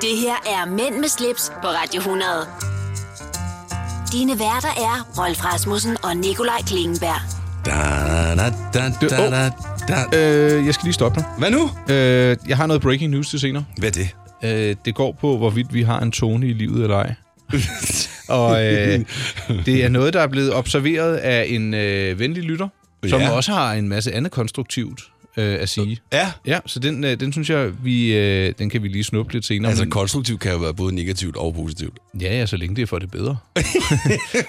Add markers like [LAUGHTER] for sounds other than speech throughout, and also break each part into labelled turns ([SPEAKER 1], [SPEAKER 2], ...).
[SPEAKER 1] Det her er Mænd med slips på Radio 100. Dine værter er Rolf Rasmussen og Nikolaj Klingenberg.
[SPEAKER 2] Da, da, da,
[SPEAKER 3] Du-
[SPEAKER 2] da,
[SPEAKER 3] åh.
[SPEAKER 2] da, da.
[SPEAKER 3] Øh, jeg skal lige stoppe dig.
[SPEAKER 2] Hvad nu?
[SPEAKER 3] Øh, jeg har noget breaking news til senere.
[SPEAKER 2] Hvad er det?
[SPEAKER 3] Øh, det går på, hvorvidt vi har en tone i livet eller ej. Og
[SPEAKER 2] [LAUGHS]
[SPEAKER 3] øh, det er noget, der er blevet observeret af en øh, venlig lytter, som
[SPEAKER 2] Ja.
[SPEAKER 3] også har en masse andet konstruktivt øh, at sige.
[SPEAKER 2] [LAUGHS] ja.
[SPEAKER 3] Ja, så den, øh, den synes jeg, vi, øh, den kan vi lige snuppe lidt senere.
[SPEAKER 2] Altså,
[SPEAKER 3] men-
[SPEAKER 2] konstruktivt kan jo være både negativt og positivt.
[SPEAKER 3] Ja, ja, så længe det er for det
[SPEAKER 2] [LAUGHS]
[SPEAKER 3] bedre.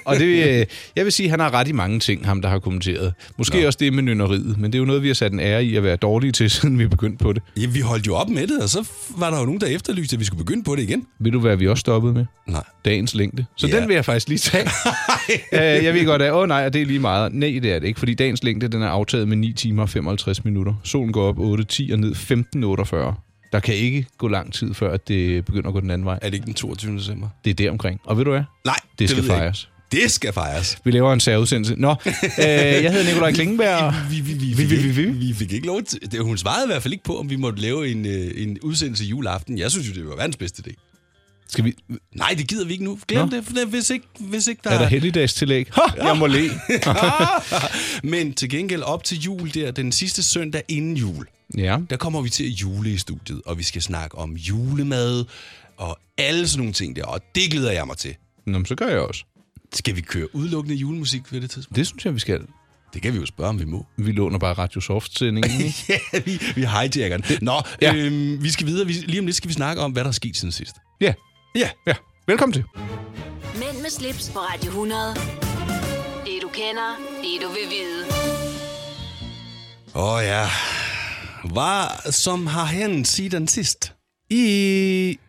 [SPEAKER 3] og det, øh, jeg vil sige, at han har ret i mange ting, ham der har kommenteret. Måske Nå. også det med nønneriet, men det er jo noget, vi har sat en ære i at være dårlige til, [LAUGHS] siden vi begyndte på det.
[SPEAKER 2] Ja, vi holdt jo op med det, og så var der jo nogen, der efterlyste, at vi skulle begynde på det igen.
[SPEAKER 3] Ved du, hvad vi også stoppede med?
[SPEAKER 2] Nej.
[SPEAKER 3] Dagens længde. Så
[SPEAKER 2] Ja.
[SPEAKER 3] den vil jeg faktisk lige
[SPEAKER 2] [LAUGHS]
[SPEAKER 3] tage. øh, jeg ved godt, at åh nej, og det er lige meget. Nej, det er det ikke, fordi dagens længde den er aftaget med 9 timer og 55 minutter. Solen går op 8.10 og ned 15.48. Der kan ikke gå lang tid, før at det begynder at gå den anden vej.
[SPEAKER 2] Er det ikke den 22. december?
[SPEAKER 3] Det er deromkring. Og ved du hvad?
[SPEAKER 2] Nej,
[SPEAKER 3] Det, det skal
[SPEAKER 2] ved jeg ikke.
[SPEAKER 3] fejres.
[SPEAKER 2] Det skal fejres.
[SPEAKER 3] Vi laver en særudsendelse. Nå, øh, jeg hedder Nikolaj Klingenberg.
[SPEAKER 2] [LAUGHS] Vi, vi, vi,
[SPEAKER 3] Vi- vi- vi- vi.
[SPEAKER 2] vi fik ikke lov til... Det, hun svarede i hvert fald ikke på, om vi måtte lave en, øh, en udsendelse juleaften. Jeg synes jo, det var verdens bedste idé.
[SPEAKER 3] Skal vi...
[SPEAKER 2] Nej, det gider vi ikke nu. Glem
[SPEAKER 3] Nå.
[SPEAKER 2] det, for det, hvis ikke, hvis ikke der
[SPEAKER 3] Er der helligdagstillæg? Ha,
[SPEAKER 2] [LAUGHS]
[SPEAKER 3] jeg må le.
[SPEAKER 2] Men til gengæld op til jul der, den sidste søndag inden jul,
[SPEAKER 3] Ja,
[SPEAKER 2] der kommer vi til at jule i studiet, og vi skal snakke om julemad og alle sådan nogle ting der, og det glæder jeg mig til.
[SPEAKER 3] Nå, men så gør jeg også.
[SPEAKER 2] Skal vi køre udelukkende julemusik ved det tidspunkt?
[SPEAKER 3] Det synes jeg, vi skal.
[SPEAKER 2] Det kan vi jo spørge, om vi må.
[SPEAKER 3] Vi låner bare Radio Soft-sendingen. ikke?
[SPEAKER 2] [LAUGHS] Ja, vi, vi hijacker den. Nå, ja.
[SPEAKER 3] Ja.
[SPEAKER 2] øhm, vi skal videre. Vi, lige om lidt skal vi snakke om, hvad der er sket siden sidst.
[SPEAKER 3] ja,
[SPEAKER 2] Ja.
[SPEAKER 3] ja. Velkommen til.
[SPEAKER 1] Mænd med slips på Radio 100. Det du kender, det du vil vide.
[SPEAKER 2] Åh oh, ja. Hvad som har hænt siden sidst?
[SPEAKER 3] I...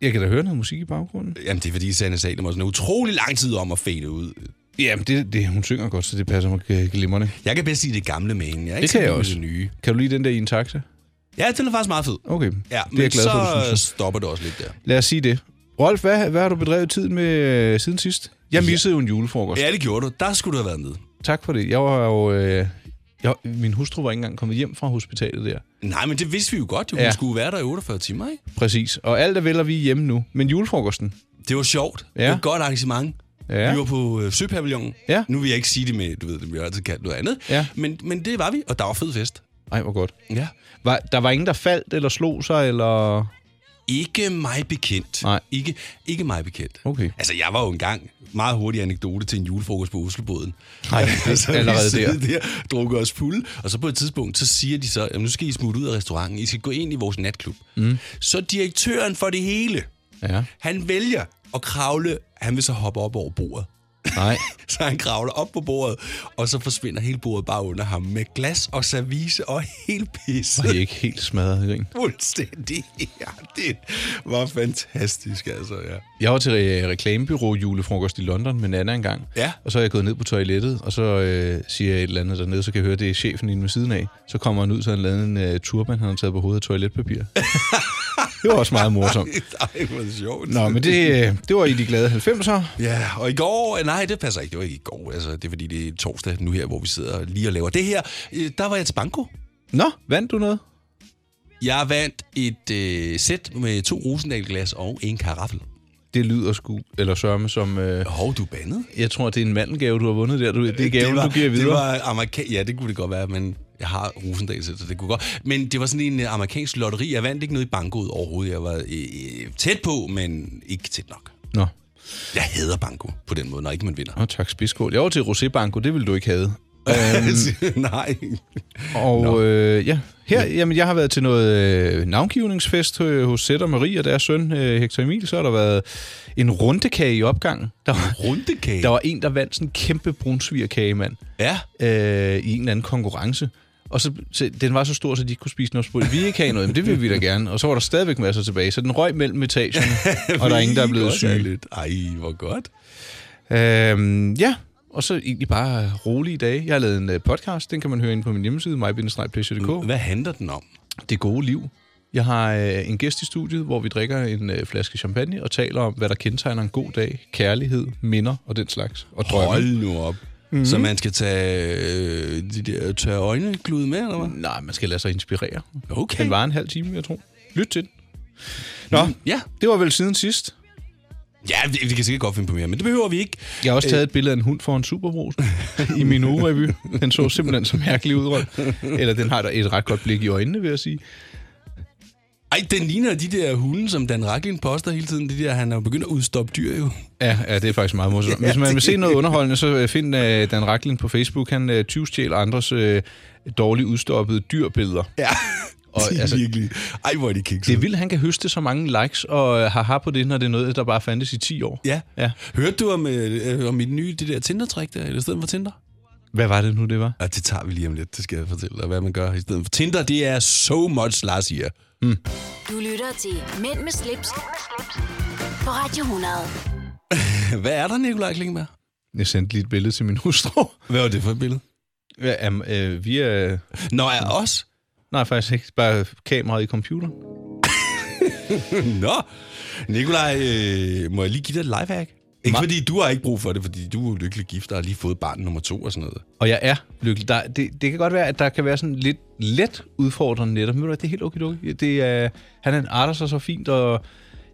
[SPEAKER 3] Jeg kan da høre noget musik i baggrunden.
[SPEAKER 2] Jamen, det er fordi, Sanne Salem har sådan en utrolig lang tid om at fade ud.
[SPEAKER 3] Jamen, det, det, hun synger godt, så det passer mig øh, glimrende.
[SPEAKER 2] Jeg kan bedst sige det gamle med hende. Jeg er
[SPEAKER 3] Det
[SPEAKER 2] ikke så
[SPEAKER 3] kan
[SPEAKER 2] vild
[SPEAKER 3] jeg
[SPEAKER 2] med
[SPEAKER 3] også.
[SPEAKER 2] Det nye.
[SPEAKER 3] Kan du lide den der i en taxa?
[SPEAKER 2] Ja, den er faktisk meget fed.
[SPEAKER 3] Okay,
[SPEAKER 2] Ja,
[SPEAKER 3] det er jeg glad
[SPEAKER 2] så
[SPEAKER 3] for, du synes.
[SPEAKER 2] stopper det også lidt der.
[SPEAKER 3] Lad os sige det. Rolf, hvad, hvad har du bedrevet tid med øh, siden sidst? Jeg missede jo en julefrokost.
[SPEAKER 2] Ja, det gjorde du. Der skulle du have været nede.
[SPEAKER 3] Tak for det. Jeg var jo... Øh, jeg, min hustru var ikke engang kommet hjem fra hospitalet der.
[SPEAKER 2] Nej, men det vidste vi jo godt. Jo. Hun
[SPEAKER 3] Ja.
[SPEAKER 2] skulle være der i 48 timer, ikke?
[SPEAKER 3] Præcis. Og alt er vel, og vi er hjemme nu. Men julefrokosten?
[SPEAKER 2] Det var sjovt. Ja.
[SPEAKER 3] Ja.
[SPEAKER 2] Det var et godt arrangement.
[SPEAKER 3] Ja.
[SPEAKER 2] Vi var på øh, Søpavillonen.
[SPEAKER 3] Ja.
[SPEAKER 2] Nu vil jeg ikke sige det med, du ved, det bliver altid kaldt noget andet.
[SPEAKER 3] Ja.
[SPEAKER 2] Men, men det var vi, og der var fed fest.
[SPEAKER 3] Ej, hvor godt.
[SPEAKER 2] Ja.
[SPEAKER 3] Var, der var ingen, der faldt eller slog sig, eller...
[SPEAKER 2] Ikke mig bekendt.
[SPEAKER 3] Nej.
[SPEAKER 2] Ikke, ikke mig bekendt.
[SPEAKER 3] Okay.
[SPEAKER 2] Altså, jeg var jo engang meget hurtig anekdote til en julefrokost på Oslobåden.
[SPEAKER 3] Nej, det
[SPEAKER 2] [LAUGHS]
[SPEAKER 3] er
[SPEAKER 2] så vi
[SPEAKER 3] allerede
[SPEAKER 2] sidder der. drukket os fulde, og så på et tidspunkt, så siger de så, "Jamen, nu skal I smutte ud af restauranten, I skal gå ind i vores natklub. Mm. Så direktøren for det hele,
[SPEAKER 3] Ja.
[SPEAKER 2] han vælger at kravle, han vil så hoppe op over bordet. [LAUGHS]
[SPEAKER 3] Nej.
[SPEAKER 2] Så han kravler op på bordet, og så forsvinder hele bordet bare under ham med glas og service og helt pisse.
[SPEAKER 3] Det er ikke helt smadret, grin.
[SPEAKER 2] Fuldstændig. [LAUGHS] Ja, det var fantastisk, altså, ja. [LAUGHS]
[SPEAKER 3] Jeg var til re- reklamebyrå julefrokost i London med Nana engang.
[SPEAKER 2] Ja.
[SPEAKER 3] Og så er jeg gået ned på toilettet, og så øh, siger jeg et eller andet dernede, så kan jeg høre, det er chefen inde ved siden af. Så kommer han ud, så har han lavet en øh, turban, han har taget på hovedet af
[SPEAKER 2] [LAUGHS]
[SPEAKER 3] toiletpapir. det var også meget morsomt.
[SPEAKER 2] Ej, hvor er det sjovt.
[SPEAKER 3] Nå, men det, øh, det var i de glade 90'er.
[SPEAKER 2] Ja, og i går... Nej, det passer ikke. Det var ikke i går. Altså, det er fordi, det er torsdag nu her, hvor vi sidder lige og laver det her. Øh, Der var jeg til banko.
[SPEAKER 3] Nå, vandt du noget?
[SPEAKER 2] Jeg vandt et øh, sæt med to Rosendal-glas og en karaffel.
[SPEAKER 3] Det lyder sgu, eller sørme som... Øh,
[SPEAKER 2] Hov, du bandede.
[SPEAKER 3] jeg tror, det er en mandelgave, du har vundet der. Du, det er gaven, du giver videre.
[SPEAKER 2] Det var amerika- ja, det kunne det godt være, men jeg har Rosendal så det kunne godt. Men det var sådan en øh, amerikansk lotteri. Jeg vandt ikke noget i bankoet overhovedet. Jeg var øh, tæt på, men ikke tæt nok.
[SPEAKER 3] Nå,
[SPEAKER 2] Jeg hader banko på den måde, når ikke man
[SPEAKER 3] [LAUGHS]
[SPEAKER 2] vinder. [LAUGHS]
[SPEAKER 3] og tak spidskål. Jeg var til Rosé Banco, det ville du ikke have.
[SPEAKER 2] Nej.
[SPEAKER 3] Og øh, ja, her, jamen, jeg har været til noget øh, navngivningsfest øh, hos Sætter Marie og deres søn øh, Hector Emil, så har der været en rundekage i opgangen. Der var,
[SPEAKER 2] Rundekage.
[SPEAKER 3] der var en, der vandt sådan en kæmpe brunsvigerkage, mand,
[SPEAKER 2] Ja.
[SPEAKER 3] øh, i en eller anden konkurrence. Og så, så, den var så stor, så de ikke kunne spise noget spurgt. Vi ikke have noget, men det vil vi da gerne. Og så var der stadigvæk masser tilbage, så den røg mellem etagerne,
[SPEAKER 2] [LAUGHS]
[SPEAKER 3] og der er ingen, der er blevet
[SPEAKER 2] Godt,
[SPEAKER 3] syge.
[SPEAKER 2] Lidt. Ej, hvor godt.
[SPEAKER 3] Øhm, ja, og så egentlig bare rolige dage. Jeg har lavet en øh, podcast, den kan man høre inde på min hjemmeside, mybindestrejpleasure.dk.
[SPEAKER 2] Hvad handler den om?
[SPEAKER 3] Det gode liv. Jeg har øh, en gæst i studiet, hvor vi drikker en øh, flaske champagne og taler om, hvad der kendetegner en god dag, kærlighed, minder og den slags. Og drømme.
[SPEAKER 2] Hold nu op. Mm-hmm. Så man skal tage øh, de der tørre øjneglude med, eller hvad?
[SPEAKER 3] Nej, man skal lade sig inspirere.
[SPEAKER 2] Okay.
[SPEAKER 3] Den varer en halv time, jeg tror. Lyt til den. Nå,
[SPEAKER 2] Ja.
[SPEAKER 3] det var vel siden sidst.
[SPEAKER 2] Ja, vi, vi kan sikkert godt finde på mere, men det behøver vi ikke.
[SPEAKER 3] Jeg har
[SPEAKER 2] Øh.
[SPEAKER 3] også taget et billede af en hund foran Superbrus i min ugerevy. Den så simpelthen så mærkelig ud, Rolf. Eller den har da et ret godt blik i øjnene, vil jeg sige.
[SPEAKER 2] Ej, den ligner de der hunde, som Dan Raklin poster hele tiden. Det der, han er jo begyndt at udstoppe dyr jo.
[SPEAKER 3] Ja, ja, det er faktisk meget morsomt. Hvis man vil se noget underholdende, så øh, find uh, Dan Raklin på Facebook. Han uh, tyvstjæler andres uh, dårligt udstoppede dyrbilleder. Mm.
[SPEAKER 2] Ja, [LAUGHS] og,
[SPEAKER 3] De er
[SPEAKER 2] altså, virkelig. Ej, hvor er de
[SPEAKER 3] Det er
[SPEAKER 2] kiksede.
[SPEAKER 3] vildt, han kan høste så mange likes og øh, haha på det, når det er noget, der bare fandtes i 10 år.
[SPEAKER 2] Ja.
[SPEAKER 3] ja.
[SPEAKER 2] Hørte du om, øh, øh, om mit nye det der Tinder-trick der, eller i stedet for Tinder?
[SPEAKER 3] Hvad var det nu, det var?
[SPEAKER 2] Ja, det tager vi lige om lidt, det skal jeg fortælle dig, hvad man gør i stedet for. Tinder, det er so much Lars siger.
[SPEAKER 1] Du lytter til Mænd med slips, Mænd med slips. på Radio 100.
[SPEAKER 2] Hvad er der, Nikolaj Klingberg?
[SPEAKER 3] Jeg sendte lige et billede til min [LAUGHS] hustru.
[SPEAKER 2] Hvad var det for et billede?
[SPEAKER 3] Ja, jamen, øh, vi er...
[SPEAKER 2] Nå, er os?
[SPEAKER 3] Nej, faktisk ikke. Bare kameraet i computeren.
[SPEAKER 2] [LAUGHS] Nå, Nikolaj, øh, må jeg lige give dig et lifehack? Ikke
[SPEAKER 3] Nej.
[SPEAKER 2] fordi du har ikke brug for det, fordi du er jo lykkelig gift og har lige fået barn nummer to og sådan noget.
[SPEAKER 3] Og jeg er lykkelig. Der, det, det kan godt være, at der kan være sådan lidt let udfordrende netop. Men ved du hvad, det er helt okay, okay. Det er, han er en arter sig så fint, og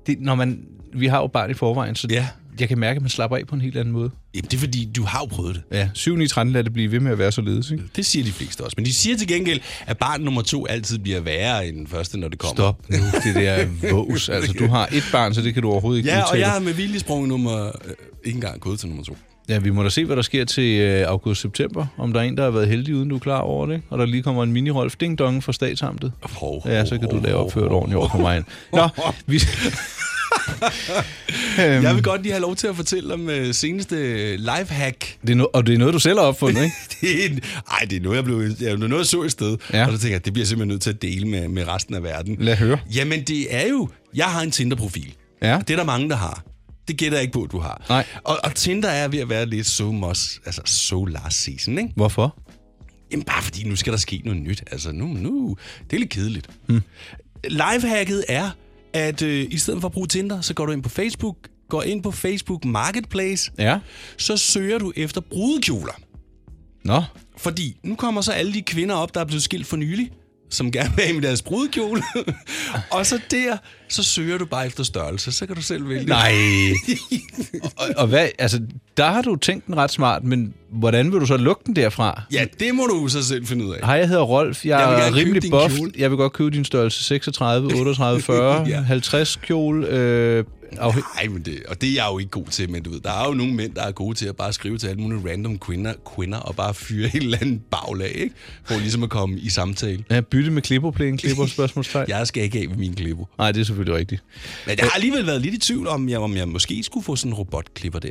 [SPEAKER 3] det, når man, vi har jo barn i forvejen, så
[SPEAKER 2] Ja.
[SPEAKER 3] jeg kan mærke, at man slapper af på en helt anden måde.
[SPEAKER 2] Jamen, det er fordi, du har jo prøvet det.
[SPEAKER 3] Ja, 7 9, 13 lader det blive ved med at være således, ikke?
[SPEAKER 2] Det siger de fleste også. Men de siger til gengæld, at barn nummer to altid bliver værre end den første, når det kommer.
[SPEAKER 3] Stop nu, det der vås. Altså, du har et barn, så det kan du overhovedet ikke
[SPEAKER 2] Ja, og
[SPEAKER 3] udtale.
[SPEAKER 2] jeg har med vilje sprunget nummer... Øh, ikke engang gået til nummer to.
[SPEAKER 3] Ja, vi må da se, hvad der sker til øh, august-september. Om der er en, der har været heldig, uden du er klar over det. ikke? Og der lige kommer en mini-Rolf Ding-Dong fra statsamtet.
[SPEAKER 2] Hov,
[SPEAKER 3] Ja, så kan du lave opført ordentligt over for mig. Nå, vi... øhm,
[SPEAKER 2] Jeg vil godt lige have lov til at fortælle om øh, seneste øh, lifehack.
[SPEAKER 3] det er no- og det er noget, du selv har opfundet, ikke?
[SPEAKER 2] [LAUGHS] Det er en, ej, det er noget, jeg blev, jeg er noget, jeg så et sted.
[SPEAKER 3] Ja.
[SPEAKER 2] Ja. Og så tænker jeg, det bliver jeg simpelthen nødt til at dele med, med resten af verden.
[SPEAKER 3] Lad høre.
[SPEAKER 2] Jamen, det er jo... Jeg har en Tinder-profil.
[SPEAKER 3] Ja.
[SPEAKER 2] Og det er der mange, der har. Det gætter jeg ikke på, at du har.
[SPEAKER 3] Nej.
[SPEAKER 2] Og, og Tinder er ved at være lidt so much, altså so last season, ikke?
[SPEAKER 3] Hvorfor?
[SPEAKER 2] Jamen bare fordi, nu skal der ske noget nyt. Altså nu, nu, det er lidt kedeligt. Hmm. Lifehacket er, at øh, i stedet for at bruge Tinder, så går du ind på Facebook, går ind på Facebook Marketplace,
[SPEAKER 3] Ja.
[SPEAKER 2] så søger du efter brudekjoler.
[SPEAKER 3] Nå,
[SPEAKER 2] Fordi nu kommer så alle de kvinder op, der er blevet skilt for nylig, som gerne vil have med deres brudekjole. [LAUGHS] og så der, så søger du bare efter størrelse. Så kan du selv vælge.
[SPEAKER 3] nej. og, og hvad, altså, der har du tænkt den ret smart, men hvordan vil du så lukke den derfra?
[SPEAKER 2] Ja, det må du så selv finde ud af.
[SPEAKER 3] Hej, jeg hedder Rolf. Jeg,
[SPEAKER 2] Jeg vil
[SPEAKER 3] jeg er
[SPEAKER 2] gerne købe
[SPEAKER 3] rimelig
[SPEAKER 2] din
[SPEAKER 3] buff.
[SPEAKER 2] kjole.
[SPEAKER 3] Jeg vil godt købe din størrelse 36, 38, 40,
[SPEAKER 2] [LAUGHS] Ja.
[SPEAKER 3] 50 kjole. Øh, afhæ-
[SPEAKER 2] Nej, men det, og det er jeg jo ikke god til, men du ved, der er jo nogle mænd, der er gode til at bare skrive til alle mulige random kvinder, kvinder og bare fyre [LAUGHS] et eller andet baglag, ikke? For ligesom at komme i samtale.
[SPEAKER 3] ja, bytte med
[SPEAKER 2] [LAUGHS]
[SPEAKER 3] klipperplæne, klipper, spørgsmålstegn. ja.
[SPEAKER 2] Jeg skal ikke af med min klipper.
[SPEAKER 3] Nej, det er selvfølgelig rigtigt.
[SPEAKER 2] Men jeg har alligevel været lidt i tvivl om, jeg, om jeg måske skulle få sådan en robotklipper der.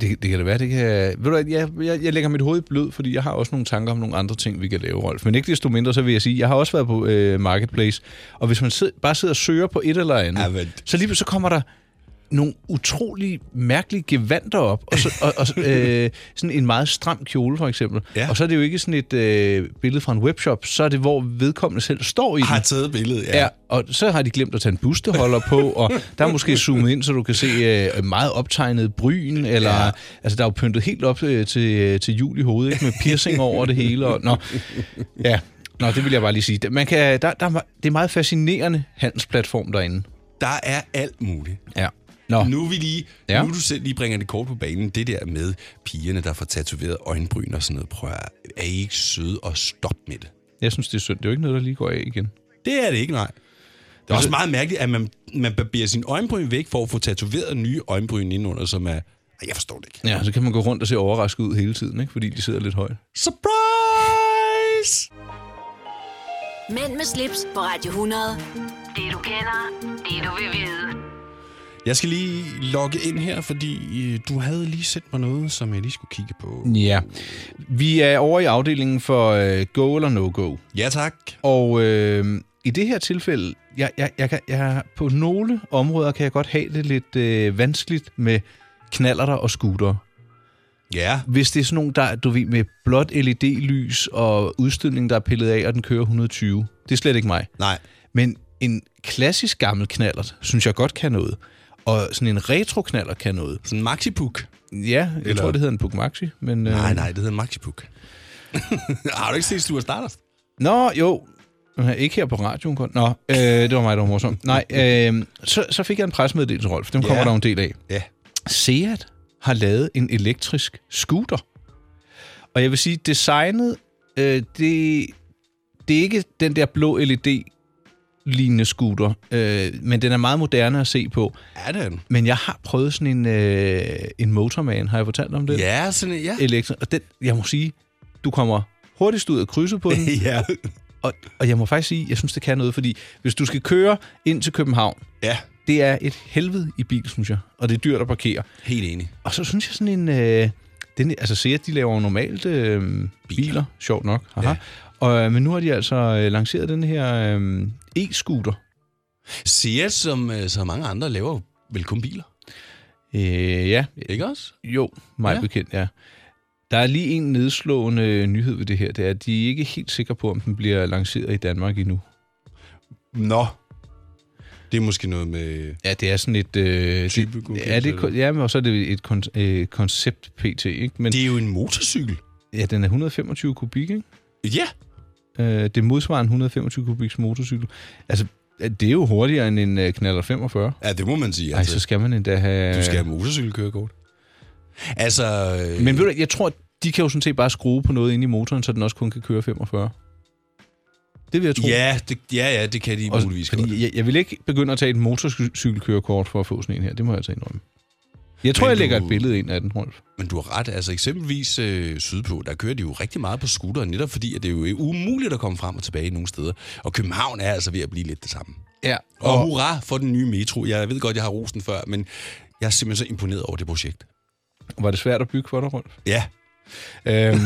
[SPEAKER 3] Det, det kan det være, det kan... Ved du, hvad, jeg, jeg, jeg lægger mit hoved i blød, fordi jeg har også nogle tanker om nogle andre ting, vi kan lave, Rolf. Men ikke desto mindre, så vil jeg sige, jeg har også været på øh, Marketplace, og hvis man sid, bare sidder og søger på et eller andet,
[SPEAKER 2] Ja, men-
[SPEAKER 3] så lige så kommer der nogle utrolig mærkelige gevanter op, og, så, og, og øh, sådan en meget stram kjole for eksempel.
[SPEAKER 2] Ja.
[SPEAKER 3] Og så er det jo ikke sådan et øh, billede fra en webshop, så er det, hvor vedkommende selv står i den.
[SPEAKER 2] Har taget billedet, ja.
[SPEAKER 3] Mhm. Ja, og så har de glemt at tage en busteholder på,
[SPEAKER 2] [LAUGHS]
[SPEAKER 3] og der er måske zoomet ind, så du kan se øh, meget optegnet bryn, eller ja.
[SPEAKER 2] Ja.
[SPEAKER 3] altså der er jo pyntet helt op øh, til, øh, til jul i hovedet, ikke, med piercing over det hele. Og, nå, ja. nå, det vil jeg bare lige sige. Man kan, der, der, er me- det er meget fascinerende handelsplatform derinde.
[SPEAKER 2] Der er alt muligt.
[SPEAKER 3] Ja. Nå,
[SPEAKER 2] Nu er vi lige,
[SPEAKER 3] Ja.
[SPEAKER 2] ja. nu du selv lige bringer det kort på banen, det der med pigerne, der får tatoveret øjenbryn og sådan noget. Prøv at, høre, er I ikke søde og stop med det?
[SPEAKER 3] jeg synes, det er synd. Det er jo ikke noget, der lige går af igen.
[SPEAKER 2] Det er det ikke, nej. Altså- Det er også meget mærkeligt, at man, man barberer sin øjenbryn væk for at få tatoveret nye øjenbryn indenunder, som er... Ej, Jeg forstår det ikke.
[SPEAKER 3] Ja, så kan man gå rundt og se overrasket ud hele tiden, ikke, fordi de sidder lidt højt.
[SPEAKER 2] Surprise!
[SPEAKER 1] Mænd med slips på Radio 100. Det du kender, det du vil vide.
[SPEAKER 2] Jeg skal lige logge ind her, fordi øh, du havde lige sendt mig noget, som jeg lige skulle kigge på.
[SPEAKER 3] Ja. Vi er over i afdelingen for øh, go eller no-go.
[SPEAKER 2] Ja, tak.
[SPEAKER 3] Og øh, i det her tilfælde, jeg, jeg, jeg, kan- jeg, på nogle områder kan jeg godt have det lidt øh, vanskeligt med knallerter og scootere.
[SPEAKER 2] Ja.
[SPEAKER 3] Hvis det er sådan nogle, der, du ved, med blåt LED-lys og udstødning, der er pillet af, og den kører 120. Det er slet ikke mig.
[SPEAKER 2] Nej.
[SPEAKER 3] Men en klassisk gammel knallert, synes jeg godt kan noget. Og sådan en retro knallert kan noget.
[SPEAKER 2] Sådan en maxipuk.
[SPEAKER 3] Ja, jeg Eller...
[SPEAKER 2] Eller-
[SPEAKER 3] tror, det hedder en Puk Maxi. Men, øh...
[SPEAKER 2] [LAUGHS] Nej, nej, det hedder en maxipuk. Har du ikke set Stuart Stardust?
[SPEAKER 3] Nå, jo. Nej, ikke her på radioen kun. Nå, øh, det var mig, der var morsom. Nej, øh, så, så fik jeg en presmeddelelse, Rolf. Dem
[SPEAKER 2] Ja.
[SPEAKER 3] kommer der jo en del af.
[SPEAKER 2] Ja.
[SPEAKER 3] Seat har lavet en elektrisk scooter. Og jeg vil sige, designet, øh, det, det er ikke den der blå LED-lignende scooter, øh, men den er meget moderne at se på.
[SPEAKER 2] Er den?
[SPEAKER 3] Men jeg har prøvet sådan en, øh, en motorman, har jeg fortalt om det?
[SPEAKER 2] Ja, sådan en- ja.
[SPEAKER 3] Elektri- og den, jeg må sige, du kommer hurtigst ud af krydset på den,
[SPEAKER 2] [LAUGHS] ja.
[SPEAKER 3] og, og jeg må faktisk sige, jeg synes, det kan noget, fordi hvis du skal køre ind til København,
[SPEAKER 2] Ja,
[SPEAKER 3] det er et helvede i bil, synes jeg. Og det er dyrt at parkere.
[SPEAKER 2] helt enig.
[SPEAKER 3] Og så synes jeg sådan en... Øh, den, altså Seat, de laver jo normalt øh, biler. biler, sjovt nok. Haha.
[SPEAKER 2] Ja.
[SPEAKER 3] Ja. Og, øh, men nu har de altså øh, lanceret den her øh, e-scooter.
[SPEAKER 2] Seat, som øh, så mange andre laver jo vel kun biler,
[SPEAKER 3] Øh, ja,
[SPEAKER 2] ikke også?
[SPEAKER 3] jo, mig
[SPEAKER 2] Ja.
[SPEAKER 3] ja. bekendt, ja. Der er lige en nedslående øh, nyhed ved det her, det er, at de er ikke helt sikre på, om den bliver lanceret i Danmark endnu.
[SPEAKER 2] Nå. Det er måske noget med...
[SPEAKER 3] Ja, det er sådan et... Øh,
[SPEAKER 2] Typegodkendelse,
[SPEAKER 3] det, er det,
[SPEAKER 2] eller?
[SPEAKER 3] ja, men og så er det et kon, øh, koncept PT, ikke? Men
[SPEAKER 2] Det er jo en motorcykel.
[SPEAKER 3] ja, den er 125 kubik, ikke?
[SPEAKER 2] Ja.
[SPEAKER 3] Øh, det modsvarer en 125 kubiks motorcykel. Altså, det er jo hurtigere end en øh, knaller 45.
[SPEAKER 2] Ja, det må man sige.
[SPEAKER 3] Nej,
[SPEAKER 2] Altså,
[SPEAKER 3] så skal man endda have...
[SPEAKER 2] du skal have motorcykelkørekort. Altså... øh,
[SPEAKER 3] Men ved du, hvad, jeg tror, de kan jo sådan set bare skrue på noget inde i motoren, så den også kun kan køre 45. Det vil jeg tro.
[SPEAKER 2] Ja, det, ja, ja, det kan de
[SPEAKER 3] Og,
[SPEAKER 2] muligvis godt.
[SPEAKER 3] fordi jeg, jeg vil ikke begynde at tage et motorcykelkørekort for at få sådan en her. Det må jeg altså indrømme. Jeg tror,
[SPEAKER 2] Men
[SPEAKER 3] jeg lægger
[SPEAKER 2] du-
[SPEAKER 3] et billede ind af den, Rolf.
[SPEAKER 2] Men du har ret. Altså eksempelvis øh, sydpå, der kører de jo rigtig meget på scooter, netop fordi at det er jo umuligt at komme frem og tilbage nogle steder. Og København er altså ved at blive lidt det samme.
[SPEAKER 3] Ja.
[SPEAKER 2] Og, og hurra for den nye metro. Jeg ved godt, jeg har rosen før, men jeg er simpelthen så imponeret over det projekt.
[SPEAKER 3] Var det svært at bygge for dig, Rolf?
[SPEAKER 2] Ja,
[SPEAKER 3] Øhm,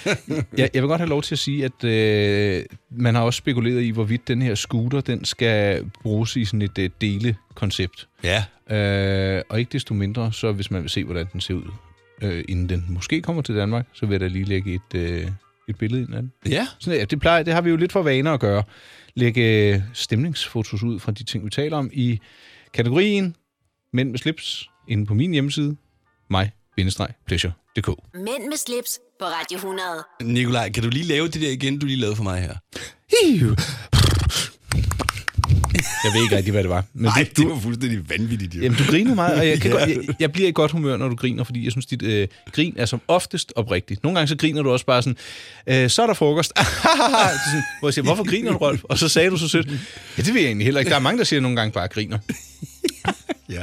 [SPEAKER 3] [LAUGHS] jeg, jeg vil godt have lov til at sige, at øh, man har også spekuleret i, hvorvidt den her scooter, den skal bruges i sådan et øh, delekoncept.
[SPEAKER 2] ja.
[SPEAKER 3] Øh, og ikke desto mindre, så hvis man vil se, hvordan den ser ud, øh, inden den måske kommer til Danmark, så vil jeg da lige lægge et, øh, et billede ind af den.
[SPEAKER 2] Ja,
[SPEAKER 3] Sådan, ja, det, plejer, det har vi jo lidt for vaner at gøre. Lægge øh, stemningsfotos ud fra de ting, vi taler om i kategorien Mænd med slips inde på min hjemmeside, mig-pleasure.dk.
[SPEAKER 1] Mænd med slips på Radio 100.
[SPEAKER 2] Nikolaj, kan du lige lave det der igen, du lige lavede for mig her?
[SPEAKER 3] Jeg ved ikke rigtig, hvad det var. Men
[SPEAKER 2] Nej, det var fuldstændig vanvittigt. Jo.
[SPEAKER 3] Jamen, du griner meget, og jeg, kan
[SPEAKER 2] Ja.
[SPEAKER 3] godt, jeg, jeg bliver i godt humør, når du griner, fordi jeg synes, dit øh, grin er som oftest oprigtigt. Nogle gange så griner du også bare sådan, øh, så er der frokost. [LAUGHS] Det er sådan, hvor jeg siger, hvorfor griner du, Rolf? Og så sagde du så sødt, ja, det ved jeg egentlig heller ikke. Der er mange, der siger, at nogle gange bare griner.
[SPEAKER 2] Ja.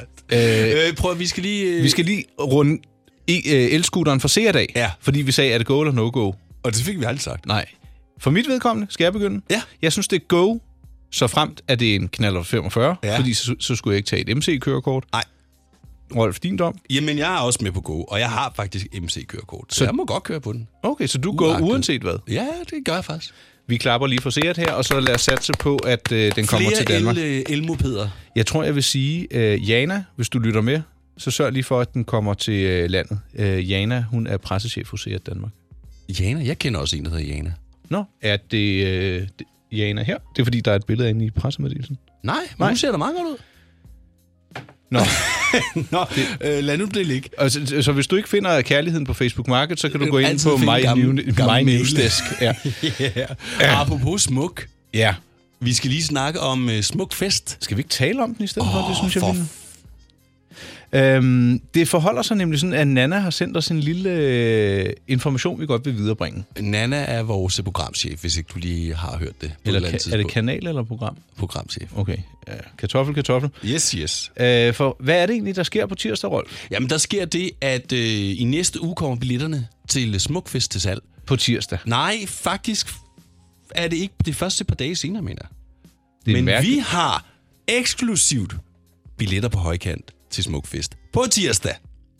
[SPEAKER 3] Øh,
[SPEAKER 2] Øh, prøv at- vi skal lige... Øh...
[SPEAKER 3] vi skal lige runde i, øh, elskutteren for seerdag,
[SPEAKER 2] Ja.
[SPEAKER 3] fordi vi sagde, er det go eller no-go?
[SPEAKER 2] Og det fik vi aldrig sagt.
[SPEAKER 3] Nej. For mit vedkommende, skal jeg begynde?
[SPEAKER 2] Ja.
[SPEAKER 3] Jeg synes, det er go, så fremt at det er en knaller 45,
[SPEAKER 2] Ja.
[SPEAKER 3] ja. fordi så, så skulle jeg ikke tage et MC-kørekort.
[SPEAKER 2] Nej.
[SPEAKER 3] Rolf, din dom?
[SPEAKER 2] Jamen, jeg er også med på gå, og jeg har faktisk MC-kørekort, så, så jeg må godt køre på den.
[SPEAKER 3] Okay, så du går
[SPEAKER 2] Uagtet.
[SPEAKER 3] uanset hvad.
[SPEAKER 2] Ja, det gør jeg faktisk.
[SPEAKER 3] Vi klapper lige for Seat her, og så lad os satse på, at øh, den kommer til Danmark.
[SPEAKER 2] el, øh, elmopeder.
[SPEAKER 3] Jeg tror, jeg vil sige, øh, Jana, hvis du lytter med, så sørg lige for, at den kommer til øh, landet. Øh, Jana, hun er pressechef hos Seat Danmark.
[SPEAKER 2] Jana, jeg kender også en, der hedder Jana.
[SPEAKER 3] Nå, er det, øh, det Jana her? Det er, fordi der er et billede inde i pressemeddelelsen.
[SPEAKER 2] Nej, men
[SPEAKER 3] Nej.
[SPEAKER 2] hun ser da meget godt ud.
[SPEAKER 3] Nå,
[SPEAKER 2] [LAUGHS] Nå, øh, lad nu det ligge.
[SPEAKER 3] og Altså, så, så hvis du ikke finder kærligheden på Facebook Market, så kan du
[SPEAKER 2] Du
[SPEAKER 3] gå
[SPEAKER 2] kan
[SPEAKER 3] ind
[SPEAKER 2] Øh, altid
[SPEAKER 3] på
[SPEAKER 2] finde
[SPEAKER 3] My,
[SPEAKER 2] gamle-
[SPEAKER 3] new,
[SPEAKER 2] gamle
[SPEAKER 3] my
[SPEAKER 2] mail.
[SPEAKER 3] Newsdesk. Ja.
[SPEAKER 2] Ja. Apropos smuk.
[SPEAKER 3] ja.
[SPEAKER 2] Vi skal lige snakke om øh, smuk fest.
[SPEAKER 3] Skal vi ikke tale om den i stedet oh, for? Det
[SPEAKER 2] Åh,
[SPEAKER 3] synes jeg,
[SPEAKER 2] for
[SPEAKER 3] vi- Øhm, det forholder sig nemlig sådan, at Nana har sendt os en lille øh, information, vi godt vil viderebringe.
[SPEAKER 2] f- Nana er vores programchef, hvis ikke du lige har hørt det. På et andet
[SPEAKER 3] Eller ka- er det
[SPEAKER 2] tidspunkt.
[SPEAKER 3] kanal eller program?
[SPEAKER 2] Programchef.
[SPEAKER 3] Okay. Ja. Kartoffel, kartoffel.
[SPEAKER 2] Yes, yes.
[SPEAKER 3] Øh, for hvad er det egentlig, der sker på tirsdag, Rolf?
[SPEAKER 2] Jamen, der sker det, at øh, i næste uge kommer billetterne til øh, Smukfest til salg.
[SPEAKER 3] På tirsdag.
[SPEAKER 2] Nej, faktisk er det ikke det første par dage senere, mener jeg.
[SPEAKER 3] Det er
[SPEAKER 2] Men
[SPEAKER 3] mærkeligt.
[SPEAKER 2] vi har eksklusivt billetter på højkant til Smukfest på tirsdag.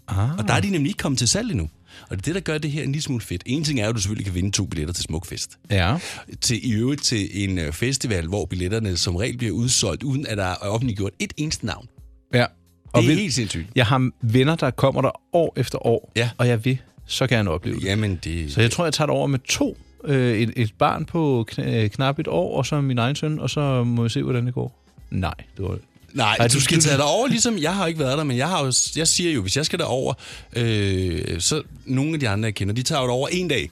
[SPEAKER 2] Ah. Og der er de nemlig ikke kommet til salg endnu. Og det er det, der gør det her en lille smule fedt. En ting er jo, at du selvfølgelig kan vinde to billetter til Smukfest.
[SPEAKER 3] Ja.
[SPEAKER 2] Til, I øvrigt til en øh, festival, hvor billetterne som regel bliver udsolgt, uden at der er offentliggjort et eneste navn.
[SPEAKER 3] ja.
[SPEAKER 2] Og
[SPEAKER 3] Og
[SPEAKER 2] det er
[SPEAKER 3] vil,
[SPEAKER 2] helt sindssygt.
[SPEAKER 3] jeg har venner, der kommer der år efter år,
[SPEAKER 2] Ja.
[SPEAKER 3] og jeg vil så gerne opleve det.
[SPEAKER 2] Jamen, det...
[SPEAKER 3] Så jeg tror, jeg tager det over med to. Øh, et, et barn på kn- øh, knap et år, og så min egen søn, og så må jeg se, hvordan det går. Nej, det var
[SPEAKER 2] Nej,
[SPEAKER 3] Ej,
[SPEAKER 2] du
[SPEAKER 3] du-
[SPEAKER 2] skal
[SPEAKER 3] du-
[SPEAKER 2] tage dig over, ligesom jeg har ikke været der, men jeg, har jo, jeg siger jo, hvis jeg skal derover, øh, så nogle af de andre, jeg kender, de tager jo derover en dag.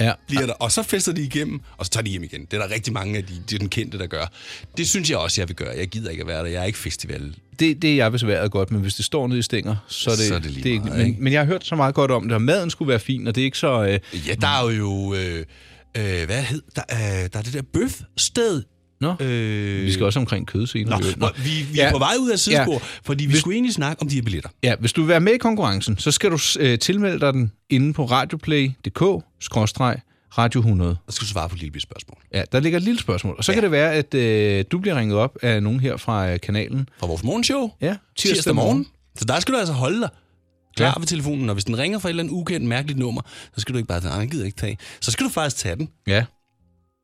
[SPEAKER 3] Ja.
[SPEAKER 2] Bliver der, og så fester de igennem, og så tager de hjem igen. Det er der rigtig mange af de, de den kendte, der gør. Det synes jeg også, jeg vil gøre. Jeg gider ikke at være der. Jeg er ikke festival.
[SPEAKER 3] Det, det er jeg besværet godt, men hvis det står nede i stænger, så er det,
[SPEAKER 2] Så er det lige
[SPEAKER 3] ikke,
[SPEAKER 2] meget,
[SPEAKER 3] men,
[SPEAKER 2] ikke?
[SPEAKER 3] men jeg har hørt så meget godt om det, og maden skulle være fin, og det er ikke så... Øh,
[SPEAKER 2] Ja, der er jo... Øh, øh, hvad hed der, øh, der er det der bøfsted.
[SPEAKER 3] nå,
[SPEAKER 2] Øh,
[SPEAKER 3] vi skal også omkring kød senere.
[SPEAKER 2] Nå,
[SPEAKER 3] i øvrigt.
[SPEAKER 2] nå, vi, vi ja. er på vej ud af sidespor, ja. fordi vi
[SPEAKER 3] Hvis-
[SPEAKER 2] skulle egentlig snakke om de her billetter.
[SPEAKER 3] Ja, hvis du vil være med i konkurrencen, så skal du øh, tilmelde dig den inde på radioplay.dk-radio 100.
[SPEAKER 2] Og så skal du svare på et lille bitte spørgsmål
[SPEAKER 3] Ja, der ligger et lille spørgsmål. Og så ja. kan det være, at øh, du bliver ringet op af nogen her fra øh, kanalen.
[SPEAKER 2] fra vores morgenshow.
[SPEAKER 3] Ja,
[SPEAKER 2] tirsdag, tirsdag morgen. morgen. Så der skal du altså holde dig klar
[SPEAKER 3] Ja.
[SPEAKER 2] ja. ved telefonen, og hvis den ringer fra et eller andet ukendt mærkeligt nummer, så skal du ikke bare sige, "Nej, jeg gider ikke tage. Så skal du faktisk tage den. [LAUGHS]
[SPEAKER 3] Ja.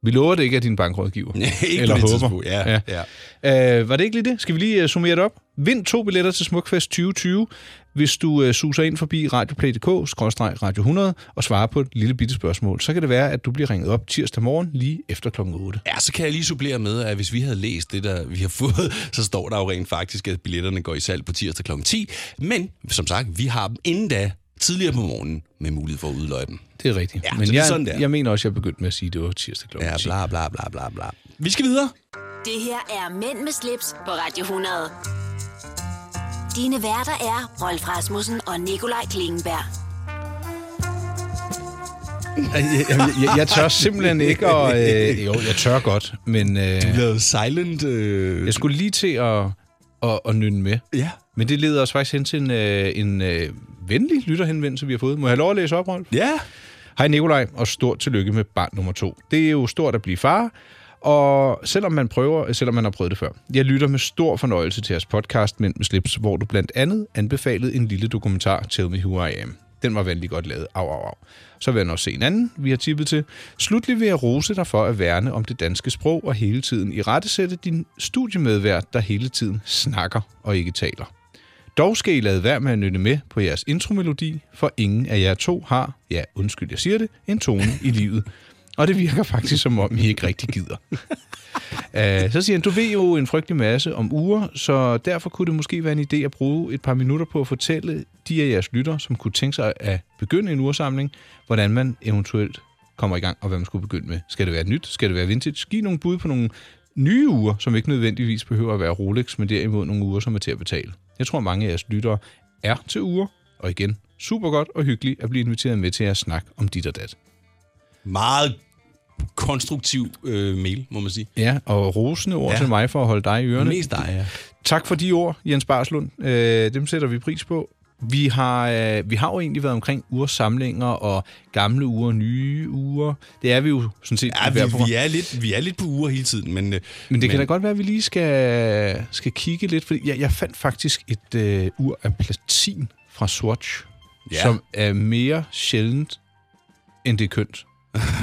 [SPEAKER 3] Vi lover det ikke af din bankrådgiver.
[SPEAKER 2] ikke
[SPEAKER 3] Eller
[SPEAKER 2] på det
[SPEAKER 3] håber.
[SPEAKER 2] tidspunkt. Ja,
[SPEAKER 3] Ja.
[SPEAKER 2] ja. ja.
[SPEAKER 3] Øh, var det ikke lige det? Skal vi lige uh, summere det op? Vind to billetter til Smukfest 2020, hvis du uh, suser ind forbi radioplay.dk-radio100 og svarer på et lille bitte spørgsmål. Så kan det være, at du bliver ringet op tirsdag morgen lige efter klokken 8.
[SPEAKER 2] Ja, så kan jeg lige supplere med, at hvis vi havde læst det, der vi har [LAUGHS] fået, så står der jo rent faktisk, at billetterne går i salg på tirsdag kl. 10. Men som sagt, vi har dem inden da tidligere på morgenen med mulighed for at udløje dem.
[SPEAKER 3] Det er rigtigt.
[SPEAKER 2] Ja,
[SPEAKER 3] Men
[SPEAKER 2] så det er
[SPEAKER 3] jeg,
[SPEAKER 2] sådan, det er.
[SPEAKER 3] jeg mener også, at jeg begyndte med at sige, at det var tirsdag klokken
[SPEAKER 2] Ja,
[SPEAKER 3] 10.
[SPEAKER 2] bla bla bla bla bla. Vi skal videre.
[SPEAKER 1] Det her er Mænd med slips på Radio 100. Dine værter er Rolf Rasmussen og Nikolaj Klingenberg.
[SPEAKER 3] Jeg, jeg, jeg, jeg tør
[SPEAKER 2] [LAUGHS]
[SPEAKER 3] simpelthen ikke, og øh, jo, jeg tør godt, men øh,
[SPEAKER 2] Vi lavede silent... Øh...
[SPEAKER 3] jeg skulle lige til at, at, at nynne med.
[SPEAKER 2] Ja.
[SPEAKER 3] Men det leder os faktisk hen til en, øh, en øh, venlig lytterhenvendelse, vi har fået. Må jeg have lov at læse op, Rolf?
[SPEAKER 2] Ja.
[SPEAKER 3] Hej Nikolaj, og stort tillykke med barn nummer to. Det er jo stort at blive far, og selvom man prøver, øh, selvom man har prøvet det før. Jeg lytter med stor fornøjelse til jeres podcast Mænd med slips, hvor du blandt andet anbefalede en lille dokumentar, Tell Me Who I Am. Den var vanlig godt lavet. Au, au, au. Så vil jeg nok se en anden, vi har tippet til. Slutlig vil jeg rose dig for at værne om det danske sprog og hele tiden i rettesætte din studiemedvært, der hele tiden snakker og ikke taler. Dog skal I lade være med at nytte med på jeres intromelodi, for ingen af jer to har, ja undskyld jeg siger det, en tone i livet. Og det virker faktisk som om, I ikke rigtig gider. Uh, så siger han, du ved jo en frygtelig masse om uger, så derfor kunne det måske være en idé at bruge et par minutter på at fortælle de af jeres lytter, som kunne tænke sig at begynde en ursamling, hvordan man eventuelt kommer i gang, og hvad man skulle begynde med. Skal det være nyt? Skal det være vintage? Giv nogle bud på nogle nye uger, som ikke nødvendigvis behøver at være Rolex, men derimod nogle uger, som er til at betale. Jeg tror, mange af jeres lyttere er til uger, og igen, super godt og hyggeligt at blive inviteret med til at snakke om dit og dat.
[SPEAKER 2] Meget konstruktiv øh, mail, må man sige.
[SPEAKER 3] Ja, og rosende ord ja.
[SPEAKER 2] Ja.
[SPEAKER 3] til mig for at holde dig i ørerne.
[SPEAKER 2] Mest dig, ja.
[SPEAKER 3] Tak for de ord, Jens Barslund. Øh, dem sætter vi pris på. Vi har, øh, vi har jo egentlig været omkring ursamlinger og gamle uger, nye uger. Det er vi jo sådan set. i hver
[SPEAKER 2] Ja, vi,
[SPEAKER 3] program.
[SPEAKER 2] vi, er lidt, vi er lidt på uger hele tiden, men... Øh,
[SPEAKER 3] Men det kan da godt være, at vi lige skal, skal kigge lidt, fordi jeg, jeg fandt faktisk et øh, ur af platin fra Swatch, ja.
[SPEAKER 2] Ja.
[SPEAKER 3] som er mere sjældent, end det er kønt.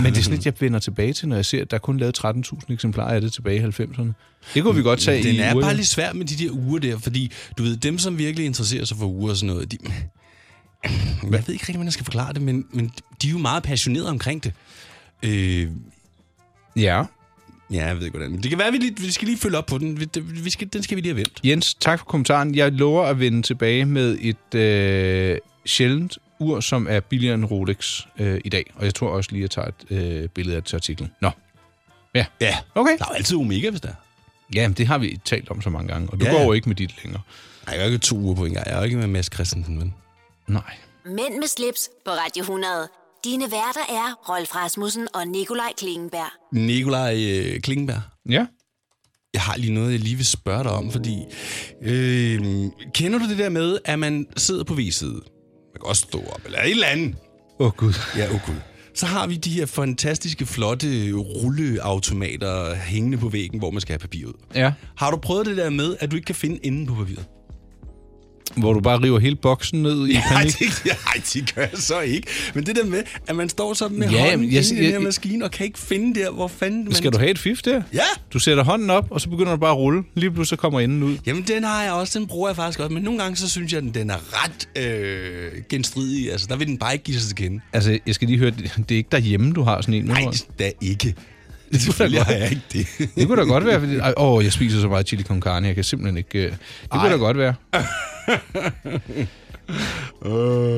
[SPEAKER 3] Men det er sådan et, jeg vender tilbage til, når jeg ser, at der er kun lavet 13.000 eksemplarer af det tilbage i 90'erne. Det kunne vi godt tage
[SPEAKER 2] Den
[SPEAKER 3] i
[SPEAKER 2] er
[SPEAKER 3] urene.
[SPEAKER 2] bare lidt svær med de der uger der, fordi du ved, dem som virkelig interesserer sig for uger og sådan noget, de, [CLEARS THROAT] jeg ved ikke rigtig, hvordan jeg skal forklare det, men, men de er jo meget passionerede omkring det. Øh,
[SPEAKER 3] Ja.
[SPEAKER 2] ja, jeg ved ikke hvordan. Men det kan være, at vi, lige, vi skal lige følge op på den. Vi, det- vi skal, den skal vi lige have vendt.
[SPEAKER 3] Jens, tak for kommentaren. Jeg lover at vende tilbage med et øh, sjældent ur, som er billigere end Rolex øh, i dag. Og jeg tror også lige, at jeg tager et øh, billede af til artiklen. Nå,
[SPEAKER 2] Ja.
[SPEAKER 3] okay.
[SPEAKER 2] Der er jo altid omega, hvis der er.
[SPEAKER 3] Jamen, det har vi talt om så mange gange, og du ja.
[SPEAKER 2] Ja,
[SPEAKER 3] går
[SPEAKER 2] ja.
[SPEAKER 3] jo ikke med dit længere.
[SPEAKER 2] Nej, jeg er jo ikke to uger på en gang. Jeg er jo ikke med Mads Christensen, men...
[SPEAKER 3] Nej.
[SPEAKER 1] Mænd med slips på Radio 100. Dine værter er Rolf Rasmussen og Nikolaj Klingenberg.
[SPEAKER 2] Nikolaj øh, Klingberg.
[SPEAKER 3] Ja.
[SPEAKER 2] Jeg har lige noget, jeg lige vil spørge dig om, fordi... Øh, kender du det der med, at man sidder på V-side? Man kan også stå op, eller et eller andet.
[SPEAKER 3] Åh, oh, Gud.
[SPEAKER 2] Ja, oh gud. Så har vi de her fantastiske, flotte rulleautomater hængende på væggen, hvor man skal have papir ud.
[SPEAKER 3] Ja.
[SPEAKER 2] Har du prøvet det der med, at du ikke kan finde enden på papiret?
[SPEAKER 3] Hvor du bare river hele boksen ned i
[SPEAKER 2] Nej,
[SPEAKER 3] panik.
[SPEAKER 2] det, [LAUGHS] nej, det gør jeg så ikke. Men det der med, at man står sådan med
[SPEAKER 3] Ja,
[SPEAKER 2] ja,
[SPEAKER 3] men
[SPEAKER 2] hånden
[SPEAKER 3] jeg-
[SPEAKER 2] jeg, inde i den her
[SPEAKER 3] jeg-
[SPEAKER 2] maskine, og kan ikke finde der, hvor fanden man...
[SPEAKER 3] Skal du have et fif der?
[SPEAKER 2] Ja!
[SPEAKER 3] Du sætter hånden op, og så begynder du bare at rulle. Lige pludselig så kommer enden ud.
[SPEAKER 2] Jamen, den har jeg også. Den bruger jeg faktisk også. Men nogle gange, så synes jeg, at den, den er ret øh, genstridig. Altså, der vil den bare ikke give sig til kende.
[SPEAKER 3] Altså, jeg skal lige høre, det er ikke derhjemme, du har sådan en.
[SPEAKER 2] Nej,
[SPEAKER 3] vel?
[SPEAKER 2] da [LAUGHS] ikke. Selvfølgelig har jeg ikke det.
[SPEAKER 3] Det kunne da godt være. fordi- Ej, Åh, jeg spiser så meget chili con carne, jeg kan simpelthen ikke... øh, Det kunne
[SPEAKER 2] Ej.
[SPEAKER 3] da godt være.
[SPEAKER 2] [LAUGHS] Åh,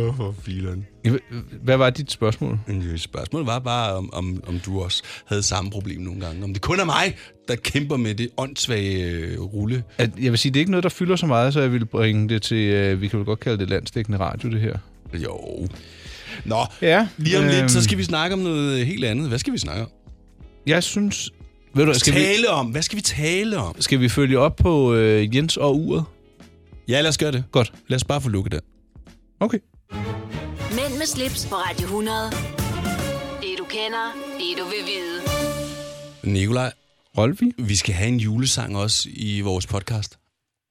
[SPEAKER 2] oh, for filen.
[SPEAKER 3] Hvad var dit spørgsmål?
[SPEAKER 2] øh, Spørgsmålet var bare, om, om, om du også havde samme problem nogle gange. Om det kun er mig, der kæmper med det åndssvage øh, rulle.
[SPEAKER 3] At, jeg vil sige, det er ikke noget, der fylder så meget, så jeg vil bringe det til, øh, vi kan vel godt kalde det landstækkende radio, det her.
[SPEAKER 2] Jo. Nå,
[SPEAKER 3] Ja,
[SPEAKER 2] lige om øhm.
[SPEAKER 3] øhm.
[SPEAKER 2] lidt, så skal vi snakke om noget helt andet. Hvad skal vi snakke om?
[SPEAKER 3] Jeg synes... Ved du, skal, vi,
[SPEAKER 2] tale om. Hvad skal vi tale om?
[SPEAKER 3] skal vi følge op på øh, Jens og uret?
[SPEAKER 2] Ja, lad os gøre det.
[SPEAKER 3] Godt.
[SPEAKER 2] Lad os bare få lukket den.
[SPEAKER 3] Okay.
[SPEAKER 1] Mænd med slips på Radio 100. Det du kender, det du vil vide.
[SPEAKER 2] Nikolaj,
[SPEAKER 3] Rolvi?
[SPEAKER 2] vi skal have en julesang også i vores podcast.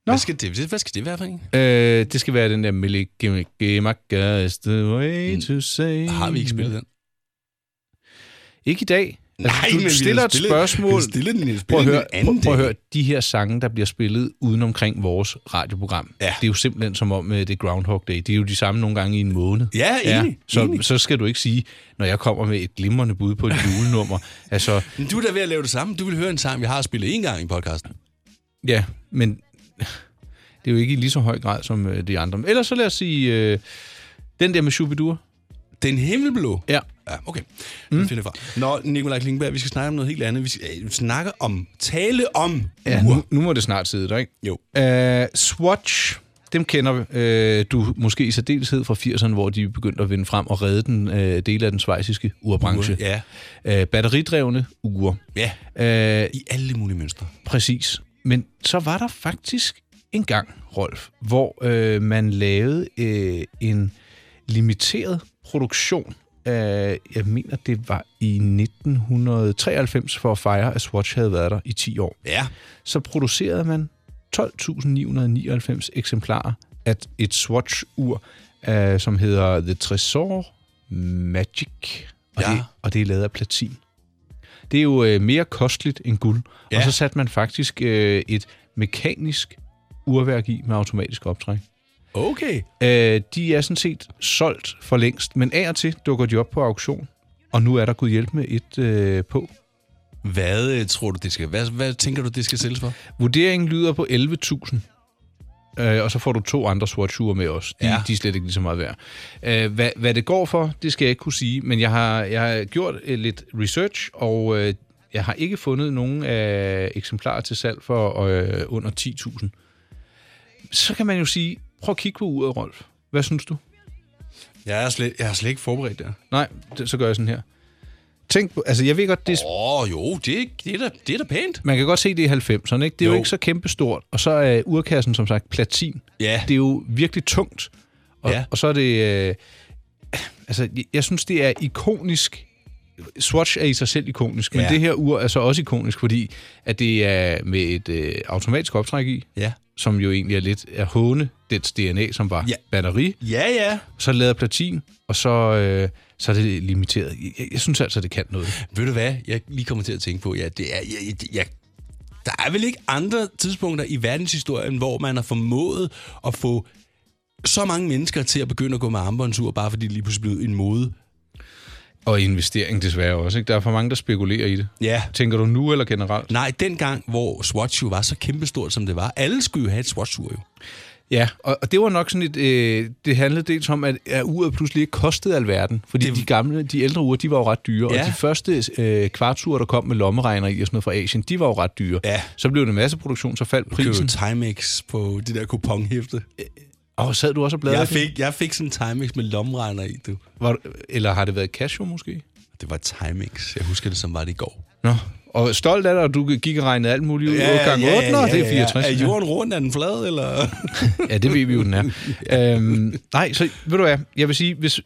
[SPEAKER 2] Nå. Hvad skal det, hvad skal det være for en?
[SPEAKER 3] Øh, det skal være den der Millie Gimme Gimme Gas the way to say...
[SPEAKER 2] Har vi ikke spillet den?
[SPEAKER 3] Ikke i dag.
[SPEAKER 2] men vi
[SPEAKER 3] Altså, du
[SPEAKER 2] har
[SPEAKER 3] stiller et
[SPEAKER 2] stillet- [LAUGHS]
[SPEAKER 3] spørgsmål.
[SPEAKER 2] vi stiller den- vi spiller
[SPEAKER 3] Prøv at,
[SPEAKER 2] den
[SPEAKER 3] høre,
[SPEAKER 2] en anden
[SPEAKER 3] prøv, prøv at
[SPEAKER 2] dag.
[SPEAKER 3] høre, de her sange, der bliver spillet uden omkring vores radioprogram,
[SPEAKER 2] Ja.
[SPEAKER 3] det er jo simpelthen som om øh, det er Groundhog Day. Det er jo de samme nogle gange i en måned.
[SPEAKER 2] Ja, enig, Mm.
[SPEAKER 3] så,
[SPEAKER 2] enig.
[SPEAKER 3] så skal du ikke sige, når jeg kommer med et glimrende bud på et
[SPEAKER 2] [LAUGHS]
[SPEAKER 3] julenummer. altså,
[SPEAKER 2] Men du er da ved at lave det samme. Du vil høre en sang, vi har spillet en gang i podcasten.
[SPEAKER 3] Ja, men det er jo ikke i lige så høj grad som øh, de andre. Men Ellers så lad os sige, øh, den der med Shubidur.
[SPEAKER 2] Den himmelblå.
[SPEAKER 3] Ja.
[SPEAKER 2] Ja, okay. Mm. Den finder jeg fra. Nå, Nikolaj Klingberg, vi skal snakke om noget helt andet. Vi skal øh, snakke om, tale om
[SPEAKER 3] ja
[SPEAKER 2] ur.
[SPEAKER 3] nu, nu må det snart sidde der, ikke?
[SPEAKER 2] Jo.
[SPEAKER 3] Øh, Swatch, dem kender øh, du måske i særdeleshed fra 80'erne, hvor de begyndte at vinde frem og redde den øh, del af den svejsiske urbranche.
[SPEAKER 2] Ja.
[SPEAKER 3] Øh, batteridrevne ure.
[SPEAKER 2] Ja,
[SPEAKER 3] Øh,
[SPEAKER 2] i alle mulige mønstre.
[SPEAKER 3] Præcis. Men så var der faktisk en gang, Rolf, hvor øh, man lavede øh, en limiteret produktion. Øh, jeg mener, det var i 1993 for at fejre, at Swatch havde været der i 10 år.
[SPEAKER 2] Ja.
[SPEAKER 3] Så producerede man 12.999 eksemplarer af et Swatch-ur, øh, som hedder The Tresor Magic. Og,
[SPEAKER 2] Ja.
[SPEAKER 3] det, og det er lavet af platin. Det er jo øh, mere kosteligt end guld. Ja.
[SPEAKER 2] Ja.
[SPEAKER 3] Og så satte man faktisk øh, et mekanisk urværk i med automatisk optræk.
[SPEAKER 2] Okay.
[SPEAKER 3] Øh, de er sådan set solgt for længst, men af og til dukker de op på auktion, og nu er der gået hjælp med et øh, på.
[SPEAKER 2] Hvad øh, tror du, det skal... Hvad, hvad tænker du, det skal sælges for?
[SPEAKER 3] Vurderingen lyder på 11.000, øh, og så får du to andre swatchure med os. De,
[SPEAKER 2] Ja.
[SPEAKER 3] ja. de er slet ikke lige så meget værd. Øh, hvad, hvad det går for, det skal jeg ikke kunne sige, men jeg har, jeg har gjort øh, lidt research, og øh, jeg har ikke fundet nogen øh, eksemplarer til salg for øh, under 10.000. Så kan man jo sige, prøv at kigge på uret, Rolf. Hvad synes du?
[SPEAKER 2] Jeg er slet, jeg er slet ikke forberedt der.
[SPEAKER 3] Nej, det, så gør jeg sådan her. Tænk på, altså jeg ved godt, det er,
[SPEAKER 2] Åh, oh, jo, det, det, er da, det er da pænt.
[SPEAKER 3] man kan godt se, det er 90'erne, ikke? Det er jo,
[SPEAKER 2] Jo.
[SPEAKER 3] jo ikke så kæmpestort. Og så er urkassen, som sagt, platin.
[SPEAKER 2] Ja.
[SPEAKER 3] Det er jo virkelig tungt. Og,
[SPEAKER 2] Ja.
[SPEAKER 3] og så er det... Øh, altså, jeg, jeg synes, det er ikonisk. Swatch er i sig selv ikonisk, men
[SPEAKER 2] Ja.
[SPEAKER 3] det her ur er så også ikonisk, fordi at det er med et øh, automatisk optræk i,
[SPEAKER 2] Ja.
[SPEAKER 3] som jo egentlig er lidt at håne dets DNA, som var
[SPEAKER 2] Ja.
[SPEAKER 3] ja. batteri.
[SPEAKER 2] Ja, ja.
[SPEAKER 3] Så er det lavet af platin, og så, øh, så er det limiteret. Jeg, jeg, jeg synes altså, det kan noget.
[SPEAKER 2] Ved du hvad, jeg lige kommer til at tænke på? Ja, det er... Jeg, jeg, jeg, der er vel ikke andre tidspunkter i verdenshistorien, hvor man har formået at få så mange mennesker til at begynde at gå med armbåndsur, bare fordi det lige pludselig blev en mode.
[SPEAKER 3] Og investering desværre også. Ikke? Der er for mange, der spekulerer i det.
[SPEAKER 2] Ja.
[SPEAKER 3] Tænker du nu eller generelt?
[SPEAKER 2] Nej, dengang, hvor Swatch jo var så kæmpestort, som det var, alle skulle jo have et Swatch-ur jo.
[SPEAKER 3] Ja, og, og det var nok sådan et... Øh, det handlede dels om, at, at uret pludselig ikke kostede alverden. Fordi
[SPEAKER 2] Det-
[SPEAKER 3] det... de gamle, de ældre ure, de var jo ret dyre.
[SPEAKER 2] Ja.
[SPEAKER 3] Og de første øh, kvartsure, der kom med lommeregner i og sådan noget fra Asien, de var jo ret dyre.
[SPEAKER 2] Ja.
[SPEAKER 3] Så blev det masseproduktion, så faldt
[SPEAKER 2] Købte
[SPEAKER 3] prisen.
[SPEAKER 2] Timex på det der kuponhæfte.
[SPEAKER 3] Og sad du også og bladrede?
[SPEAKER 2] Jeg fik, jeg fik sådan en Timex med lomregner i, du.
[SPEAKER 3] Var, du- eller har det været Casio måske?
[SPEAKER 2] Det var Timex. Jeg husker det, som var det i går.
[SPEAKER 3] Nå. Og stolt af dig, og du gik og regnede alt muligt ud. Ja, gang 8, ja, det er 64.
[SPEAKER 2] Er jorden rundt? Er den flad, eller?
[SPEAKER 3] Ja, det ved vi jo, den er. øhm, nej, så ved du hvad, jeg vil sige, hvis,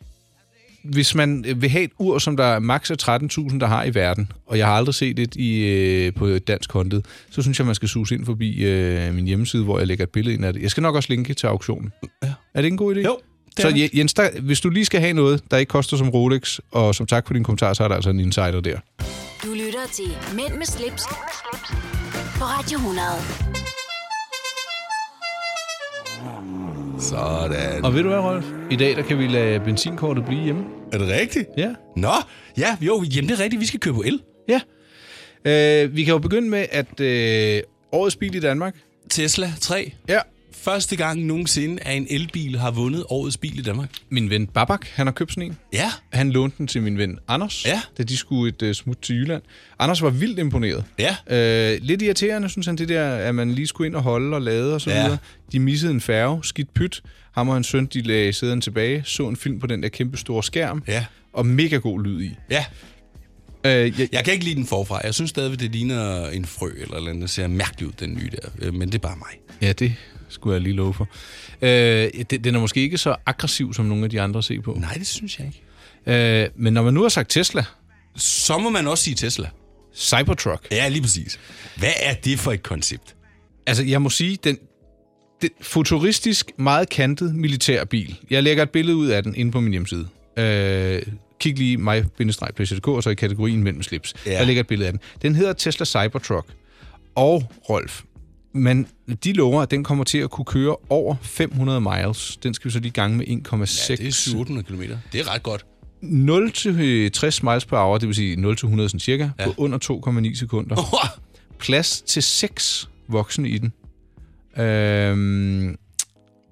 [SPEAKER 3] hvis man øh, vil have et ur, som der maks er 13.000, der har i verden, og jeg har aldrig set et i, øh, på et dansk håndled, så synes jeg, man skal suge ind forbi øh, min hjemmeside, hvor jeg lægger et billede ind af det. Jeg skal nok også linke til auktionen. Ja. Er det ikke en god idé?
[SPEAKER 2] [LAUGHS] Jo, det
[SPEAKER 3] Så
[SPEAKER 2] er det.
[SPEAKER 3] Je- Jens, der, hvis du lige skal have noget, der ikke koster som Rolex, og som tak for din kommentar, så er der altså en insider der.
[SPEAKER 1] Du lytter til Mænd med slips, Mænd med slips. på Radio 100.
[SPEAKER 2] Sådan.
[SPEAKER 3] Og ved du hvad, Rolf? I dag der kan vi lade benzinkortet blive hjemme.
[SPEAKER 2] Er det rigtigt?
[SPEAKER 3] Ja.
[SPEAKER 2] Nå, ja, jo, jamen det er rigtigt, vi skal køre på el.
[SPEAKER 3] Ja. Øh, vi kan jo begynde med, at øh, årets bil i Danmark...
[SPEAKER 2] Tesla 3.
[SPEAKER 3] Ja.
[SPEAKER 2] første gang nogensinde, at en elbil har vundet årets bil i Danmark.
[SPEAKER 3] Min ven Babak, han har købt sådan en.
[SPEAKER 2] Ja.
[SPEAKER 3] Han lånte den til min ven Anders,
[SPEAKER 2] Ja.
[SPEAKER 3] da de skulle et uh, smut til Jylland. Anders var vildt imponeret.
[SPEAKER 2] Ja.
[SPEAKER 3] Øh, lidt irriterende, synes han, det der, at man lige skulle ind og holde og lade og så
[SPEAKER 2] Ja.
[SPEAKER 3] ja. videre. De missede en færge, skidt pyt. Ham og hans søn, de lagde sæden tilbage, så en film på den der kæmpe store skærm,
[SPEAKER 2] Ja.
[SPEAKER 3] og mega god lyd i.
[SPEAKER 2] Ja.
[SPEAKER 3] Øh, jeg,
[SPEAKER 2] Jeg kan ikke lide den forfra. Jeg synes stadigvæk, det ligner en frø eller noget andet. Det ser mærkeligt ud, den nye der. Øh, Men det er bare mig.
[SPEAKER 3] ja, det skulle jeg lige love for. Øh, den, den er måske ikke så aggressiv, som nogle af de andre ser på.
[SPEAKER 2] Nej, det synes jeg ikke.
[SPEAKER 3] Øh, men når man nu har sagt Tesla,
[SPEAKER 2] Så må man også sige Tesla.
[SPEAKER 3] Cybertruck,
[SPEAKER 2] Ja, lige præcis. Hvad er det for et koncept?
[SPEAKER 3] Altså, jeg må sige, den, den futuristisk, meget kantet militærbil. Jeg lægger et billede ud af den inde på min hjemmeside. Øh, kig lige mig pleasure.dk og så i kategorien mellem slips.
[SPEAKER 2] Ja.
[SPEAKER 3] Ja. Jeg lægger et billede af den. Den hedder Tesla Cybertruck. Og Rolf, men de lover, at den kommer til at kunne køre over 500 miles. Den skal vi så lige gange med 1,6.
[SPEAKER 2] Ja, det er 700-800 km. Det er ret godt.
[SPEAKER 3] [LAUGHS] 0 til 60 miles per hour, det vil sige 0 til 100 sådan cirka, ja. på under 2,9 sekunder plads til seks voksne i den. Øhm,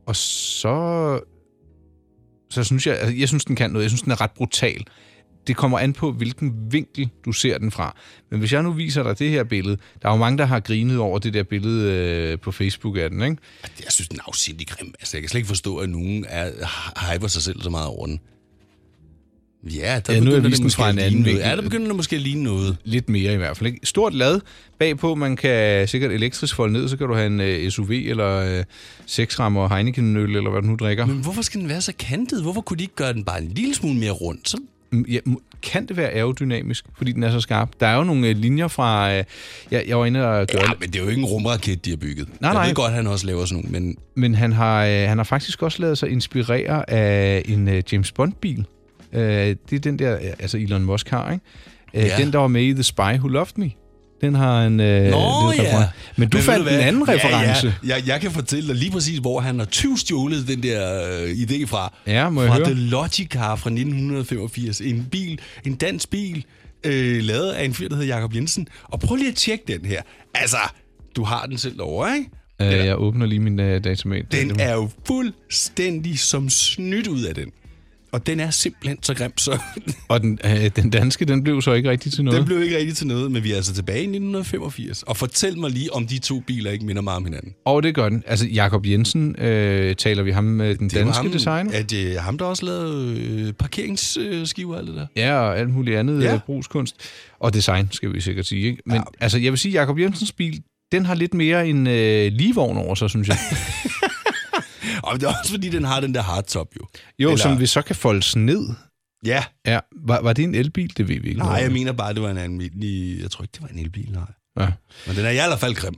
[SPEAKER 3] og så... Så synes jeg... Altså, jeg synes, den kan noget. Jeg synes, den er ret brutal. Det kommer an på, hvilken vinkel du ser den fra. Men hvis jeg nu viser dig det her billede... Der er jo mange, der har grinet over det der billede øh, på Facebook af den, ikke?
[SPEAKER 2] Jeg synes, den er afsindig grim. Altså, jeg kan slet ikke forstå, at nogen er, hyper sig selv så meget over den. Ja, der
[SPEAKER 3] Ja, nu har jeg
[SPEAKER 2] begynder
[SPEAKER 3] vist
[SPEAKER 2] det
[SPEAKER 3] den
[SPEAKER 2] måske
[SPEAKER 3] fra
[SPEAKER 2] at
[SPEAKER 3] en
[SPEAKER 2] ligne
[SPEAKER 3] anden
[SPEAKER 2] noget.
[SPEAKER 3] vinkel.
[SPEAKER 2] Ja, der begynder det måske at ligne noget.
[SPEAKER 3] Lidt mere i hvert fald, ikke? Stort lad bagpå. Man kan sikkert elektrisk folde ned, så kan du have en øh, SUV eller øh, seksrammer Heineken-øl, eller hvad du nu drikker.
[SPEAKER 2] Men hvorfor skal den være så kantet? Hvorfor kunne de ikke gøre den bare en lille smule mere rundt? Så
[SPEAKER 3] Mm, Ja, m- kan det være aerodynamisk, fordi den er så skarp? Der er jo nogle øh, linjer fra... Øh, jeg, jeg var inde og gøre...
[SPEAKER 2] Ja,
[SPEAKER 3] Ja.
[SPEAKER 2] men det er jo ikke en rumraket, de har bygget.
[SPEAKER 3] Nej,
[SPEAKER 2] jeg
[SPEAKER 3] nej.
[SPEAKER 2] ved godt, at han også laver sådan nogle, men
[SPEAKER 3] Men han har, øh, han har faktisk også lavet sig inspirere af en øh, James Bond-bil. Øh, det er den der, øh, altså Elon Musk har, ikke? Øh,
[SPEAKER 2] Ja.
[SPEAKER 3] ja. Den, der var med i The Spy Who Loved Me. Den har en... Øh, lidt
[SPEAKER 2] Nå, ja.
[SPEAKER 3] reference. Men du
[SPEAKER 2] ved
[SPEAKER 3] fandt
[SPEAKER 2] hvad?
[SPEAKER 3] en anden reference.
[SPEAKER 2] Ja, ja. Jeg, jeg kan fortælle dig lige præcis, hvor han har tyvstjålet den der øh, idé fra.
[SPEAKER 3] Ja, må jeg
[SPEAKER 2] fra
[SPEAKER 3] høre?
[SPEAKER 2] The Logicar fra 1985. En bil, en dansk bil, øh, lavet af en fyr, der hedder Jakob Jensen. Og prøv lige at tjekke den her. Altså, du har den selv over, ikke?
[SPEAKER 3] Ja. Øh, jeg åbner lige min øh, datamat.
[SPEAKER 2] Den er jo fuldstændig som snydt ud af den. Og den er simpelthen så grim, så [LAUGHS]
[SPEAKER 3] Og den, øh, den danske, den blev så ikke rigtig til noget.
[SPEAKER 2] den blev ikke rigtig til noget. Men vi er altså tilbage i 1985. Og fortæl mig lige, om de to biler ikke minder meget om hinanden.
[SPEAKER 3] Og det gør den. Altså, Jakob Jensen, øh, taler vi ham med den
[SPEAKER 2] Det var
[SPEAKER 3] danske
[SPEAKER 2] ham,
[SPEAKER 3] designer?
[SPEAKER 2] Er det ham, der også lavede øh, parkeringsskiver og alt det der?
[SPEAKER 3] Ja, og alt muligt andet
[SPEAKER 2] Ja.
[SPEAKER 3] ja. brugskunst. Og design, skal vi sikkert sige. Ikke? Men ja. altså, jeg vil sige, Jakob Jensens bil, den har lidt mere en øh, ligevogn over sig, synes jeg.
[SPEAKER 2] Og det er også, fordi den har den der hardtop jo.
[SPEAKER 3] Jo,
[SPEAKER 2] [LAUGHS] Eller-
[SPEAKER 3] Eller... som vi så kan foldes ned.
[SPEAKER 2] Ja.
[SPEAKER 3] Ja, var, var det en elbil? Det ved vi ikke.
[SPEAKER 2] Nej,
[SPEAKER 3] noget
[SPEAKER 2] jeg
[SPEAKER 3] om.
[SPEAKER 2] mener bare, det var en almindelig... Jeg tror ikke, det var en elbil, nej.
[SPEAKER 3] Ja,
[SPEAKER 2] Men den er i hvert fald grim.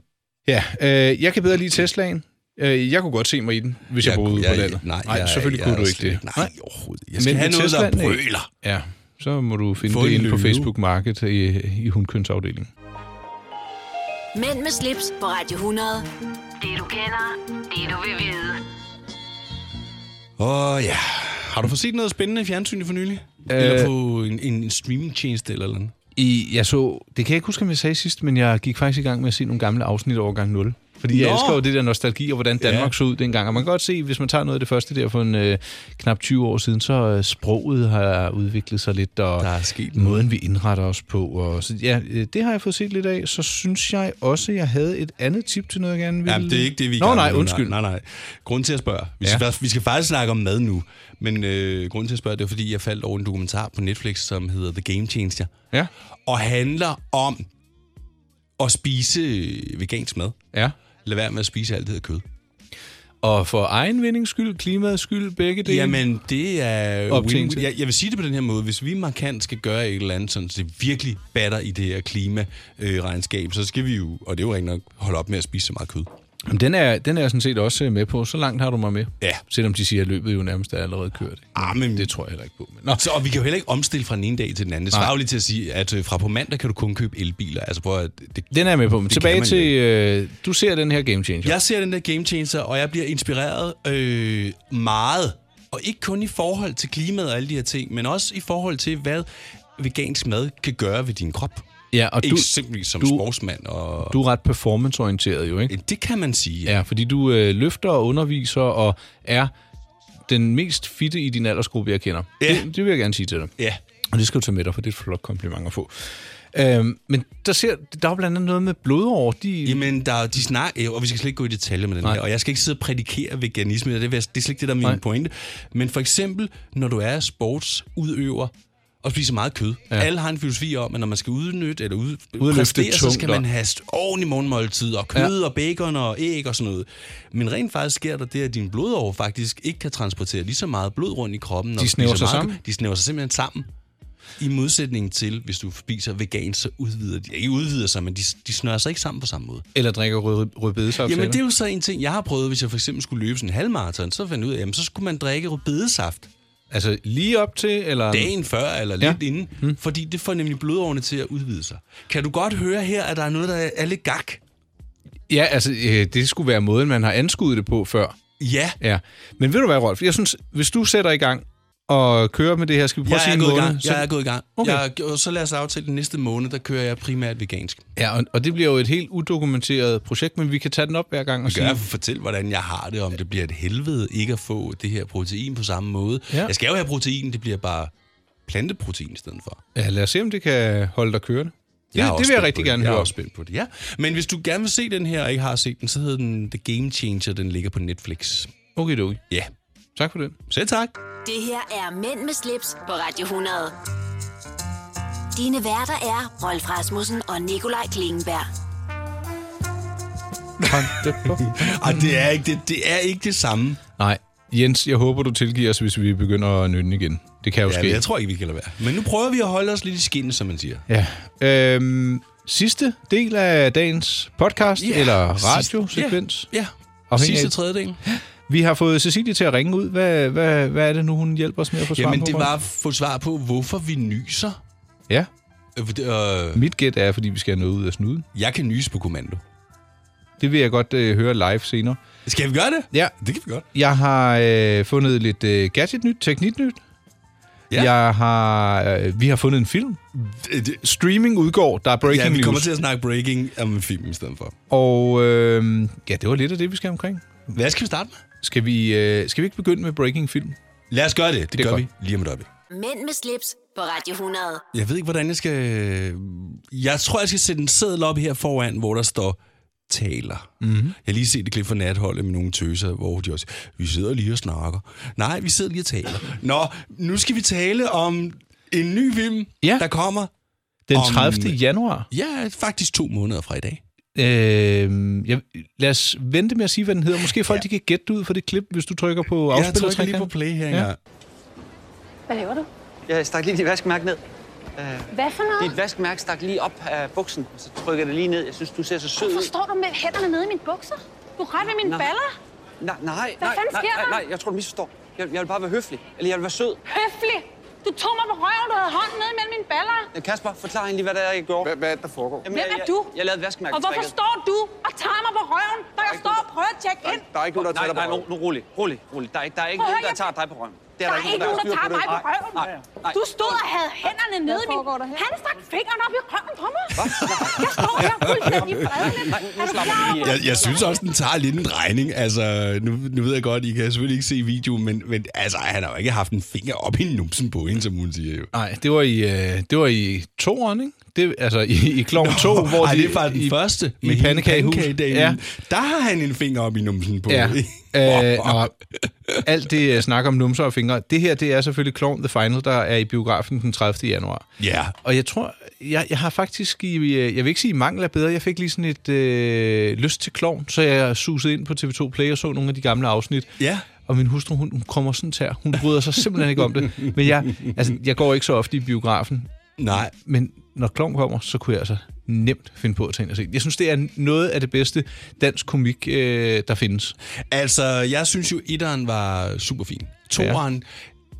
[SPEAKER 3] ja øh, jeg kan bedre lide Teslaen. Øh, jeg kunne godt se mig i den, hvis jeg, jeg boede ude på landet.
[SPEAKER 2] Nej,
[SPEAKER 3] nej
[SPEAKER 2] jeg,
[SPEAKER 3] selvfølgelig
[SPEAKER 2] jeg
[SPEAKER 3] kunne
[SPEAKER 2] er
[SPEAKER 3] du
[SPEAKER 2] slet
[SPEAKER 3] ikke det.
[SPEAKER 2] Nej, overhovedet. ikke. Jeg skal Men
[SPEAKER 3] Men
[SPEAKER 2] have
[SPEAKER 3] med
[SPEAKER 2] noget, der
[SPEAKER 3] Teslaen, nej.
[SPEAKER 2] brøler.
[SPEAKER 3] Ja, så må du finde
[SPEAKER 2] Få
[SPEAKER 3] det
[SPEAKER 2] en
[SPEAKER 3] inde på
[SPEAKER 2] løve.
[SPEAKER 3] Facebook Market i, i hundkønsafdelingen.
[SPEAKER 1] Mænd med slips på Radio 100. Det du kender, det du vil vide.
[SPEAKER 2] Åh, ja. Har du fået set noget spændende i fjernsynet for nylig? Øh... Eller på en, en streamingtjeneste eller noget?
[SPEAKER 3] I, jeg så, det kan jeg ikke huske, om jeg sagde sidst, men jeg gik faktisk i gang med at se nogle gamle afsnit over gang 0. Fordi jeg
[SPEAKER 2] Nå!
[SPEAKER 3] elsker jo det der nostalgi og hvordan Danmark
[SPEAKER 2] Ja.
[SPEAKER 3] ja. så ud dengang. Og man kan godt se, hvis man tager noget af det første der for en øh, knap 20 år siden, så øh, sproget har udviklet sig lidt, og
[SPEAKER 2] Der er sket noget.
[SPEAKER 3] måden vi indretter os på. Og, så, ja, øh, det har jeg fået set lidt af. Så synes jeg også, jeg havde et andet tip til noget, jeg gerne ville...
[SPEAKER 2] Jamen, det er ikke det, vi er i
[SPEAKER 3] Nå,
[SPEAKER 2] gang med
[SPEAKER 3] nej,
[SPEAKER 2] nu.
[SPEAKER 3] undskyld.
[SPEAKER 2] Nej, nej, nej. Grunden til at spørge. Vi, ja.
[SPEAKER 3] Ja.
[SPEAKER 2] skal, vi skal faktisk snakke om mad nu. Men øh, grunden til at spørge, det er fordi, jeg faldt over en dokumentar på Netflix, som hedder The Game Changer.
[SPEAKER 3] Ja,
[SPEAKER 2] Og handler om at spise øh, vegansk mad.
[SPEAKER 3] ja.
[SPEAKER 2] Lad være med at spise alt det her kød.
[SPEAKER 3] Og for egen vindings skyld, klimaets skyld, begge dele.
[SPEAKER 2] Jamen, det er...
[SPEAKER 3] Op til en
[SPEAKER 2] win-
[SPEAKER 3] til.
[SPEAKER 2] jeg, jeg vil sige det på den her måde. Hvis vi markant skal gøre et eller andet, sådan, så det virkelig batter i det her klimaregnskab, så skal vi jo, og det er jo rigtig nok, holde op med at spise så meget kød.
[SPEAKER 3] Jamen, den er, den er jeg sådan set også øh, med på. Så langt har du mig med.
[SPEAKER 2] Ja.
[SPEAKER 3] Selvom de siger, at løbet jo nærmest er allerede kørt.
[SPEAKER 2] Ah, men-
[SPEAKER 3] Det tror jeg heller ikke på. Men... Nå.
[SPEAKER 2] Så, og vi kan jo heller ikke omstille fra den ene dag til den anden. Det svarer jo lige til at sige, at øh, fra på mandag kan du kun købe elbiler. Altså, prøv at, det,
[SPEAKER 3] Den er jeg med på. Men tilbage
[SPEAKER 2] kan man jo
[SPEAKER 3] til, øh, du ser den her Game Changer.
[SPEAKER 2] jeg ser den der Game Changer, og jeg bliver inspireret øh, meget. Og ikke kun i forhold til klimaet og alle de her ting, men også i forhold til, hvad vegansk mad kan gøre ved din krop.
[SPEAKER 3] Ja, og du,
[SPEAKER 2] Eksempelvis som
[SPEAKER 3] du-
[SPEAKER 2] du, sportsmand. Og,
[SPEAKER 3] du er ret performanceorienteret jo, ikke?
[SPEAKER 2] det kan man sige.
[SPEAKER 3] Ja, fordi du øh, løfter og underviser og er den mest fitte i din aldersgruppe, jeg kender.
[SPEAKER 2] Ja.
[SPEAKER 3] Det, det vil jeg gerne sige til dig.
[SPEAKER 2] ja.
[SPEAKER 3] Og det skal du tage med dig, for det er et flot kompliment at få. Øhm, men der, ser, der er jo blandt andet noget med blodår. De,
[SPEAKER 2] Jamen, der, er- de snakker, ja, og vi skal slet ikke gå i detaljer med den
[SPEAKER 3] Nej.
[SPEAKER 2] Nej. her, og jeg skal ikke sidde og prædikere veganisme, og det, vil jeg- det er slet ikke det, der er min
[SPEAKER 3] Nej.
[SPEAKER 2] Nej. pointe. Men for eksempel, når du er sportsudøver og spiser meget kød. Ja. Alle har en filosofi om, at når man skal udnytte eller ud,
[SPEAKER 3] det
[SPEAKER 2] præstere, så
[SPEAKER 3] tungt,
[SPEAKER 2] skal
[SPEAKER 3] og-
[SPEAKER 2] man have st- ordentlig morgenmåltid, og kød ja. og bacon og æg og sådan noget. Men rent faktisk sker der det, at dine blodår faktisk ikke kan transportere lige så meget blod rundt i kroppen. når
[SPEAKER 3] De
[SPEAKER 2] du
[SPEAKER 3] snæver
[SPEAKER 2] spiser
[SPEAKER 3] sig
[SPEAKER 2] meget kød.
[SPEAKER 3] sammen?
[SPEAKER 2] De snæver sig simpelthen sammen. I modsætning til, hvis du spiser vegan, så udvider de, ikke udvider sig, men de, de snører sig ikke sammen på samme måde.
[SPEAKER 3] Eller drikker rød, rødbedesaft.
[SPEAKER 2] Jamen, det er jo så en ting, jeg har prøvet, hvis jeg for eksempel skulle løbe sådan en halvmarathon, så fandt jeg ud af, jamen, så skulle man drikke rødbedesaft
[SPEAKER 3] Altså lige op til, eller...
[SPEAKER 2] dagen før eller
[SPEAKER 3] Ja. Mm.
[SPEAKER 2] lidt inden, fordi det får nemlig blodårene til at udvide sig. Kan du godt høre her, at der er noget, der er lidt gak?
[SPEAKER 3] Ja, altså øh, det skulle være måden, man har anskudt det på før.
[SPEAKER 2] Ja,
[SPEAKER 3] Ja. Men ved du hvad, Rolf? Jeg synes, hvis du sætter i gang og kører med det her, skal vi prøve
[SPEAKER 2] jeg
[SPEAKER 3] at sige
[SPEAKER 2] er,
[SPEAKER 3] en
[SPEAKER 2] gået i
[SPEAKER 3] måned,
[SPEAKER 2] gang.
[SPEAKER 3] så-
[SPEAKER 2] jeg er gået i gang.
[SPEAKER 3] Okay.
[SPEAKER 2] Jeg, er- og så lad os aftale den næste måned, der kører jeg primært vegansk.
[SPEAKER 3] Ja, og, og det bliver jo et helt udokumenteret projekt, men vi kan tage den op hver gang og
[SPEAKER 2] Kan
[SPEAKER 3] sige...
[SPEAKER 2] jeg fortælle, hvordan jeg har det, om det bliver et helvede ikke at få det her protein på samme måde?
[SPEAKER 3] Ja.
[SPEAKER 2] Ja. Jeg skal jo have protein, det bliver bare planteprotein i stedet for.
[SPEAKER 3] Ja, lad os se, om det kan holde dig kørende. Det,
[SPEAKER 2] er
[SPEAKER 3] det, det
[SPEAKER 2] også
[SPEAKER 3] vil jeg
[SPEAKER 2] spændt
[SPEAKER 3] rigtig
[SPEAKER 2] på det.
[SPEAKER 3] gerne
[SPEAKER 2] jeg
[SPEAKER 3] høre.
[SPEAKER 2] er også spændt på det, ja. Men hvis du gerne vil se den her, og ikke har set den, så hedder den The Game Changer. Den ligger på Netflix.
[SPEAKER 3] Okay, okay.
[SPEAKER 2] Ja, [LAUGHS]
[SPEAKER 3] Tak for det.
[SPEAKER 2] selv tak.
[SPEAKER 1] Det her er Mænd med slips på Radio 100. Dine værter er Rolf Rasmussen og Nikolaj Klingenberg.
[SPEAKER 2] Og det er ikke det, det, er ikke det samme.
[SPEAKER 3] Nej, Jens, jeg håber, du tilgiver os, hvis vi begynder at nynne igen. Det kan jo
[SPEAKER 2] Ja,
[SPEAKER 3] ske.
[SPEAKER 2] men jeg tror ikke, vi kan lade være. Men nu prøver vi at holde os lidt i skinnet, som man siger.
[SPEAKER 3] Ja. Øhm, sidste del af dagens podcast, yeah. eller
[SPEAKER 2] sidste-
[SPEAKER 3] radiosekvens.
[SPEAKER 2] Ja, ja.
[SPEAKER 3] Afhængig af-
[SPEAKER 2] sidste tredjedel.
[SPEAKER 3] Yeah. Vi har fået Cecilie til at ringe ud. Hvad, hvad, hvad er det nu, hun hjælper os med at få svar
[SPEAKER 2] Jamen,
[SPEAKER 3] på,
[SPEAKER 2] det
[SPEAKER 3] Rolf?
[SPEAKER 2] var at få svar på, hvorfor vi nyser.
[SPEAKER 3] Ja,
[SPEAKER 2] Øh, det- Øh,
[SPEAKER 3] mit gæt er, fordi vi skal have noget ud af snuden.
[SPEAKER 2] jeg kan nyse på kommando.
[SPEAKER 3] Det vil jeg godt øh, høre live senere.
[SPEAKER 2] Skal vi gøre det?
[SPEAKER 3] Ja,
[SPEAKER 2] Det kan vi godt.
[SPEAKER 3] jeg har øh, fundet lidt øh, gadgetnyt, tekniknyt.
[SPEAKER 2] Ja.
[SPEAKER 3] Jeg har, øh, vi har fundet en film.
[SPEAKER 2] Det, det,
[SPEAKER 3] Streaming udgår, der er breaking
[SPEAKER 2] ja, vi kommer
[SPEAKER 3] news.
[SPEAKER 2] til at snakke breaking om en film i stedet for.
[SPEAKER 3] Og øh, ja, det var lidt af det, vi skal omkring.
[SPEAKER 2] Hvad skal vi starte med?
[SPEAKER 3] Skal vi, øh, skal vi ikke begynde med breaking film?
[SPEAKER 2] Lad os gøre det. Det,
[SPEAKER 3] er
[SPEAKER 2] det gør
[SPEAKER 3] godt.
[SPEAKER 2] vi lige om et øjeblik.
[SPEAKER 1] Mænd med slips på Radio 100.
[SPEAKER 2] Jeg ved ikke, hvordan jeg skal... Jeg tror, jeg skal sætte en seddel op her foran, hvor der står taler. Mm-hmm. Jeg har lige set et klip fra natholdet med nogle tøser, hvor de også... Vi sidder lige og snakker. Nej, vi sidder lige og taler. Nå, nu skal vi tale om en ny film,
[SPEAKER 3] Ja.
[SPEAKER 2] der kommer...
[SPEAKER 3] Den
[SPEAKER 2] Om-
[SPEAKER 3] 30. januar.
[SPEAKER 2] Ja, faktisk to måneder fra i dag.
[SPEAKER 3] Øh, jeg, lad os vente med at sige, hvad den hedder. Måske folk ja. de kan gætte det ud for det klip, hvis du trykker på
[SPEAKER 2] Jeg
[SPEAKER 3] afspiller.
[SPEAKER 2] trykker lige på play her.
[SPEAKER 3] Ja.
[SPEAKER 2] Ja.
[SPEAKER 4] Hvad laver du?
[SPEAKER 5] Jeg stak lige dit vaskemærke ned.
[SPEAKER 4] Hvad for noget?
[SPEAKER 5] Dit vaskemærke stak lige op af buksen, og så trykker jeg det lige ned. Jeg synes, du ser så sød
[SPEAKER 4] Hvorfor
[SPEAKER 5] ud.
[SPEAKER 4] står du med hænderne nede i mine bukser? Du rører ved mine
[SPEAKER 5] Nå.
[SPEAKER 4] baller.
[SPEAKER 5] Nej, nej,
[SPEAKER 4] Hvad
[SPEAKER 5] nej,
[SPEAKER 4] fanden
[SPEAKER 5] nej,
[SPEAKER 4] sker
[SPEAKER 5] nej,
[SPEAKER 4] der?
[SPEAKER 5] nej, jeg tror, du misforstår. Jeg, jeg vil bare være høflig, eller jeg vil være sød.
[SPEAKER 4] Høflig! Du tog mig på røven, du havde hånden nede mellem mine baller.
[SPEAKER 5] Øh, Kasper, forklar hende lige, hvad der er, jeg gjorde. Hvad, hvad er der foregår? Jamen,
[SPEAKER 4] Hvem
[SPEAKER 5] jeg-
[SPEAKER 4] er
[SPEAKER 5] jeg-
[SPEAKER 4] du?
[SPEAKER 5] Jeg, lavede vaskemærke.
[SPEAKER 4] Og hvorfor står du og tager mig på røven, når jeg står og prøver at tjekke ind?
[SPEAKER 5] Der er ikke nogen, der tager dig på røven. Nu rolig, rolig, rolig. Der er ikke, der er ikke
[SPEAKER 4] Prøv at
[SPEAKER 5] nogen,
[SPEAKER 4] høre,
[SPEAKER 5] der
[SPEAKER 4] jeg-
[SPEAKER 5] tager dig på røven. Det
[SPEAKER 4] Der er ikke nogen, der
[SPEAKER 5] styr på
[SPEAKER 4] tager
[SPEAKER 5] det.
[SPEAKER 4] mig på
[SPEAKER 5] Nej,
[SPEAKER 4] røven.
[SPEAKER 5] nej, nej.
[SPEAKER 4] Du stod og havde hænderne nede i min... Han stak fingeren op i røven på mig. Jeg står her fuldstændig fredeligt.
[SPEAKER 5] Nej, nu
[SPEAKER 4] Er du
[SPEAKER 5] slapper
[SPEAKER 4] klar
[SPEAKER 5] vi
[SPEAKER 4] over
[SPEAKER 5] lige
[SPEAKER 4] det?
[SPEAKER 2] Jeg, jeg synes også, den tager lidt en drejning. Altså, nu, nu ved jeg godt, I kan selvfølgelig ikke se videoen, men, men altså, han har jo ikke haft en finger op i numsen på hende, som hun siger jo.
[SPEAKER 3] Nej, det var i, øh, det var i toeren, ikke? Det, altså i, i Klovn 2, hvor
[SPEAKER 2] Ej,
[SPEAKER 3] de...
[SPEAKER 2] det er bare den
[SPEAKER 3] i,
[SPEAKER 2] første
[SPEAKER 3] i
[SPEAKER 2] med hende
[SPEAKER 3] pandekagehus.
[SPEAKER 2] pandekagedamen.
[SPEAKER 3] Ja.
[SPEAKER 2] Der har han en finger op i numsen på.
[SPEAKER 3] Ja. Øh,
[SPEAKER 2] Åh,
[SPEAKER 3] og alt det øh, snak om numser og fingre. Det her, det er selvfølgelig Clown The Final, der er i biografen den 30. januar.
[SPEAKER 2] Ja.
[SPEAKER 3] Og jeg tror, jeg, jeg har faktisk i, øh, jeg vil ikke sige i mangel af bedre, jeg fik lige sådan et øh, lyst til klovn, så jeg susede ind på TV2 Play og så nogle af de gamle afsnit.
[SPEAKER 2] Ja.
[SPEAKER 3] Og min hustru, hun, hun kommer sådan her. Hun bryder sig simpelthen ikke om det. Men jeg, altså, jeg går ikke så ofte i biografen.
[SPEAKER 2] Nej.
[SPEAKER 3] Men når klovn kommer, så kunne jeg altså nemt finde på at tage ind og se. den. Jeg synes, det er noget af det bedste dansk komik, øh, der findes.
[SPEAKER 2] Altså, jeg synes jo, etteren var super fin. Toeren,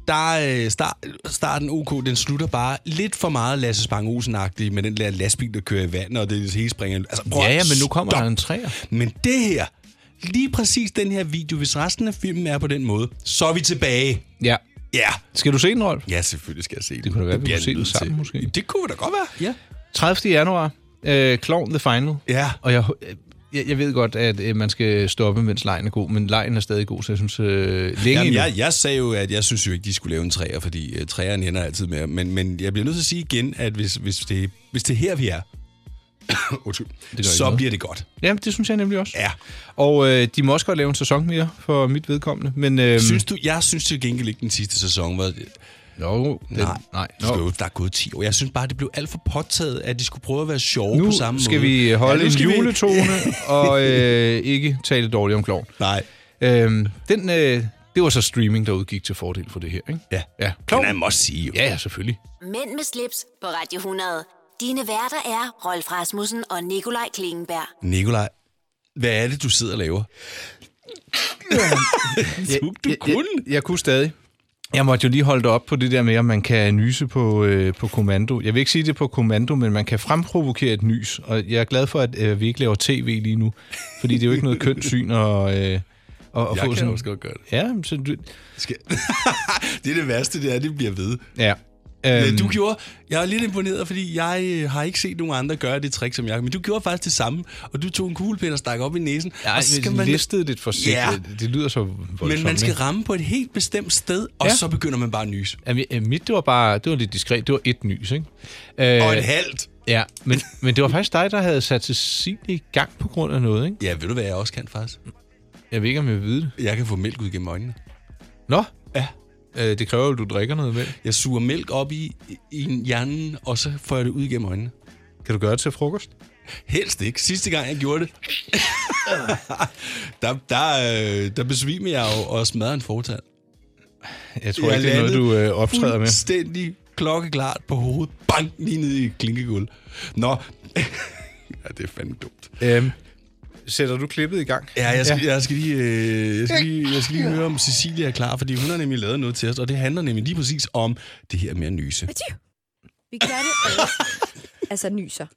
[SPEAKER 2] der øh, start, starten OK, den slutter bare lidt for meget Lasse Spang olsen med den der lastbil, der kører i vand, og det hele springer. Altså, prøv
[SPEAKER 3] Ja,
[SPEAKER 2] at
[SPEAKER 3] ja, men nu kommer
[SPEAKER 2] stop.
[SPEAKER 3] der en træer.
[SPEAKER 2] Men det her, lige præcis den her video, hvis resten af filmen er på den måde, så er vi tilbage.
[SPEAKER 3] Ja.
[SPEAKER 2] Ja. Yeah.
[SPEAKER 3] Skal du se den, Rolf?
[SPEAKER 2] Ja, selvfølgelig skal jeg se det.
[SPEAKER 3] kunne da være, vi
[SPEAKER 2] bliver
[SPEAKER 3] kunne se
[SPEAKER 2] jeg
[SPEAKER 3] den
[SPEAKER 2] nødt til.
[SPEAKER 3] sammen, måske.
[SPEAKER 2] Det kunne da godt være, ja.
[SPEAKER 3] 30. januar, øh, Clown The Final.
[SPEAKER 2] Ja.
[SPEAKER 3] Og jeg, øh, jeg, jeg ved godt, at øh, man skal stoppe, mens lejen er god, men lejen er stadig god, så jeg synes, øh, længe
[SPEAKER 2] Jamen,
[SPEAKER 3] endnu.
[SPEAKER 2] jeg, jeg sagde jo, at jeg synes jo ikke, de skulle lave en træer, fordi øh, træerne ender altid med... Men, men jeg bliver nødt til at sige igen, at hvis, hvis, det, hvis det er her, vi er, [COUGHS] Undskyld.
[SPEAKER 3] ikke
[SPEAKER 2] så
[SPEAKER 3] noget.
[SPEAKER 2] bliver det godt.
[SPEAKER 3] Jamen, det synes jeg nemlig også.
[SPEAKER 2] Ja.
[SPEAKER 3] Og øh, de må også godt lave en sæson mere, for mit vedkommende. Men, øh,
[SPEAKER 2] Synes du, jeg synes til gengæld ikke, den sidste sæson var...
[SPEAKER 3] Jo, den,
[SPEAKER 2] Nej,
[SPEAKER 3] nej.
[SPEAKER 2] no. jo, der er gået 10 år. Jeg synes bare, det blev alt for påtaget, at de skulle prøve at være sjove
[SPEAKER 3] Nu
[SPEAKER 2] på samme
[SPEAKER 3] skal
[SPEAKER 2] måde.
[SPEAKER 3] vi holde
[SPEAKER 2] nu
[SPEAKER 3] ja,
[SPEAKER 2] skal
[SPEAKER 3] en
[SPEAKER 2] vi- [LAUGHS]
[SPEAKER 3] juletone og øh, ikke tale dårligt om klovn.
[SPEAKER 2] Nej.
[SPEAKER 3] Øhm, den, øh, det var så streaming, der udgik til fordel for det her, ikke?
[SPEAKER 2] Ja.
[SPEAKER 3] Ja,
[SPEAKER 2] Klovn. Men jeg må også sige jo.
[SPEAKER 3] Ja, ja, selvfølgelig.
[SPEAKER 1] Mænd med slips på Radio 100. Dine værter er Rolf Rasmussen og Nikolaj Klingenberg.
[SPEAKER 2] Nikolaj, hvad er det, du sidder og laver? [LAUGHS] du du
[SPEAKER 3] jeg,
[SPEAKER 2] kunne.
[SPEAKER 3] Jeg, jeg kunne stadig. Jeg måtte jo lige holde dig op på det der med, om man kan nyse på, øh, på kommando. Jeg vil ikke sige det på kommando, men man kan fremprovokere et nys. Og jeg er glad for, at øh, vi ikke laver tv lige nu. Fordi det er jo ikke noget kønt syn og, øh, og, og
[SPEAKER 2] Jeg
[SPEAKER 3] få
[SPEAKER 2] kan
[SPEAKER 3] sådan...
[SPEAKER 2] også godt gøre det.
[SPEAKER 3] Ja, så du...
[SPEAKER 2] Skal... [LAUGHS] det er det værste, det er, det bliver ved.
[SPEAKER 3] Ja.
[SPEAKER 2] Ja,
[SPEAKER 3] Øhm,
[SPEAKER 2] du gjorde, jeg er lidt imponeret, fordi jeg øh, har ikke set nogen andre gøre det trick som jeg, men du gjorde faktisk det samme, og du tog en kuglepind og stak op i næsen,
[SPEAKER 3] Ej,
[SPEAKER 2] og så skal
[SPEAKER 3] man...
[SPEAKER 2] man,
[SPEAKER 3] listede lidt forsigtigt.
[SPEAKER 2] Ja.
[SPEAKER 3] Yeah. Det lyder så voldsomt.
[SPEAKER 2] men man skal
[SPEAKER 3] ikke?
[SPEAKER 2] ramme på et helt bestemt sted, og
[SPEAKER 3] Ja.
[SPEAKER 2] ja. så begynder man bare at nyse.
[SPEAKER 3] Jamen, øh, Mit, det var bare, det var lidt diskret. Det var et nys, ikke?
[SPEAKER 2] Og
[SPEAKER 3] Øh,
[SPEAKER 2] et halvt.
[SPEAKER 3] ja, men, men det var faktisk dig, der havde sat Cecilie i gang på grund af noget, ikke?
[SPEAKER 2] Ja, ved du hvad jeg også kan faktisk?
[SPEAKER 3] Jeg ved ikke, om jeg ved det.
[SPEAKER 2] Jeg kan få mælk ud gennem øjnene.
[SPEAKER 3] Nå,
[SPEAKER 2] Ja.
[SPEAKER 3] øh, det kræver jo, at du drikker noget med.
[SPEAKER 2] Jeg suger mælk op i, i en hjernen, og så får jeg det ud gennem øjnene.
[SPEAKER 3] Kan du gøre det til frokost?
[SPEAKER 2] Helst ikke. Sidste gang, jeg gjorde det, [LAUGHS] der, der, øh, der besvimede jeg jo og smadrede en fortand.
[SPEAKER 3] Jeg tror ikke, det er noget, du øh, optræder med.
[SPEAKER 2] Fuldstændig klokkeklart på hovedet. Bang! Lige ned i klinkegulv. Nå. [LAUGHS] ja, det er fandme dumt.
[SPEAKER 3] Øhm, sætter du klippet i gang?
[SPEAKER 2] Ja, jeg skal, ja. Jeg, skal lige, øh, jeg, skal lige, jeg skal lige høre, om Cecilia er klar, fordi hun har nemlig lavet noget til os, og det handler nemlig lige præcis om det her med at nyse.
[SPEAKER 6] Atyv. Vi gør det alle. altså nyser.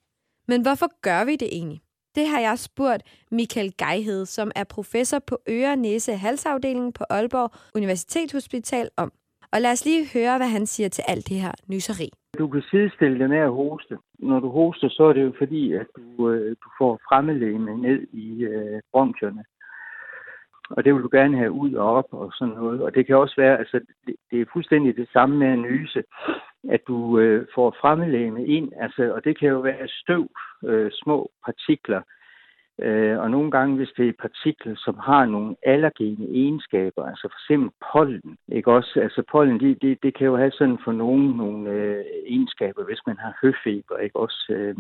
[SPEAKER 6] Men hvorfor gør vi det egentlig? Det har jeg spurgt Michael Geihede, som er professor på øre, næse og halsafdelingen på Aalborg Universitetshospital om. Og lad os lige høre, hvad han siger til alt det her nyseri.
[SPEAKER 7] Du kan sidestille det med at hoste. Når du hoster, så er det jo fordi, at du, øh, du får fremmelægene ned i øh, bronkierne. Og det vil du gerne have ud og op og sådan noget. Og det kan også være, altså det, det er fuldstændig det samme med at nyse, at du øh, får fremmelægene ind. Altså, og det kan jo være støv, øh, små partikler. Øh, og nogle gange, hvis det er partikler, som har nogle allergene egenskaber, altså for eksempel pollen, ikke også? Altså pollen, det de, de kan jo have sådan for nogen nogle øh, egenskaber, hvis man har høfeber, ikke også? Øh,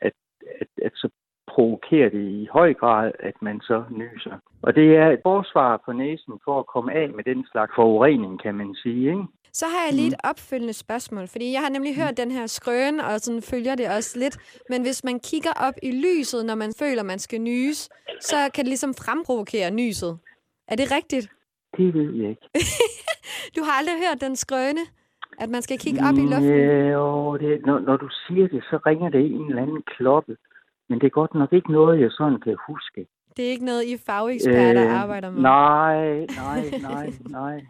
[SPEAKER 7] at, at, at så provokerer det i høj grad, at man så nyser. Og det er et forsvar på næsen for at komme af med den slags forurening, kan man sige, ikke?
[SPEAKER 6] Så har jeg lige et opfølgende spørgsmål, fordi jeg har nemlig hørt den her skrøn, og sådan følger det også lidt. Men hvis man kigger op i lyset, når man føler, man skal nyse, så kan det ligesom fremprovokere nyset. Er det rigtigt?
[SPEAKER 7] Det ved jeg ikke.
[SPEAKER 6] Du har aldrig hørt den skrøne, at man skal kigge
[SPEAKER 7] Mm,
[SPEAKER 6] op i luften?
[SPEAKER 7] Ja, jo, det, når, når du siger det, så ringer det en eller anden kloppe. Men det er godt nok ikke noget, jeg sådan kan huske.
[SPEAKER 6] Det er ikke noget, I fageksperter
[SPEAKER 7] Øh,
[SPEAKER 6] arbejder med?
[SPEAKER 7] Nej,
[SPEAKER 6] [LAUGHS]
[SPEAKER 7] nej, nej, nej. nej.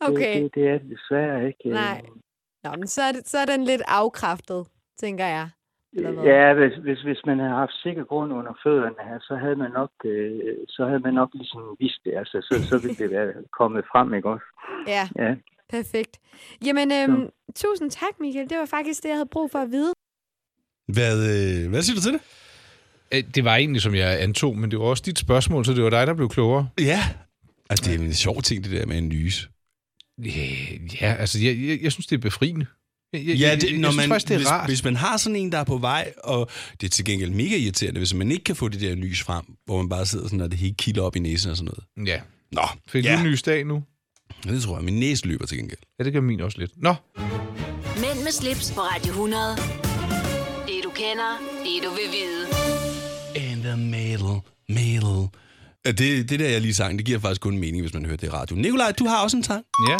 [SPEAKER 6] Okay.
[SPEAKER 7] Det, det, det er det desværre ikke. øh.
[SPEAKER 6] Nej. Nå, men så er, det, så er den lidt afkræftet, tænker jeg. Eller hvad?
[SPEAKER 7] Ja, hvis, hvis, hvis man havde haft sikker grund under fødderne her, så havde man nok, øh, så havde man nok ligesom vidst det. Altså, så, så ville det være kommet frem, ikke også?
[SPEAKER 6] ja
[SPEAKER 7] Ja.
[SPEAKER 6] perfekt. Jamen, øhm, tusind tak, Michael. Det var faktisk det, jeg havde brug for at vide.
[SPEAKER 2] Hvad, øh, hvad siger du til det?
[SPEAKER 3] Øh, Det var egentlig, som jeg antog, men det var også dit spørgsmål, så det var dig, der blev klogere.
[SPEAKER 2] Ja. Altså, det er en sjov ting, det der med at nyse.
[SPEAKER 3] Yeah, ja, altså, jeg, jeg, jeg synes, det er befriende. Jeg, jeg,
[SPEAKER 2] Ja,
[SPEAKER 3] jeg,
[SPEAKER 2] det,
[SPEAKER 3] jeg
[SPEAKER 2] når
[SPEAKER 3] synes
[SPEAKER 2] man,
[SPEAKER 3] faktisk, det er
[SPEAKER 2] hvis,
[SPEAKER 3] rart.
[SPEAKER 2] hvis man har sådan en, der er på vej, og det er til gengæld mega irriterende, hvis man ikke kan få det der lys frem, hvor man bare sidder sådan, og det hele kilder op i næsen og sådan noget.
[SPEAKER 3] Ja,
[SPEAKER 2] Nå,
[SPEAKER 3] fik
[SPEAKER 2] ja.
[SPEAKER 3] du en ny dag nu?
[SPEAKER 2] det tror jeg. Min næse løber til gengæld.
[SPEAKER 3] Ja, det gør min også lidt. Nå,
[SPEAKER 1] Mænd med slips på Radio 100. Det du kender, det du vil vide.
[SPEAKER 2] In the middle, middle. Ja, det, det der, jeg lige sang, det giver faktisk kun mening, hvis man hører det i radio. Nikolaj, du har også en sang.
[SPEAKER 3] ja,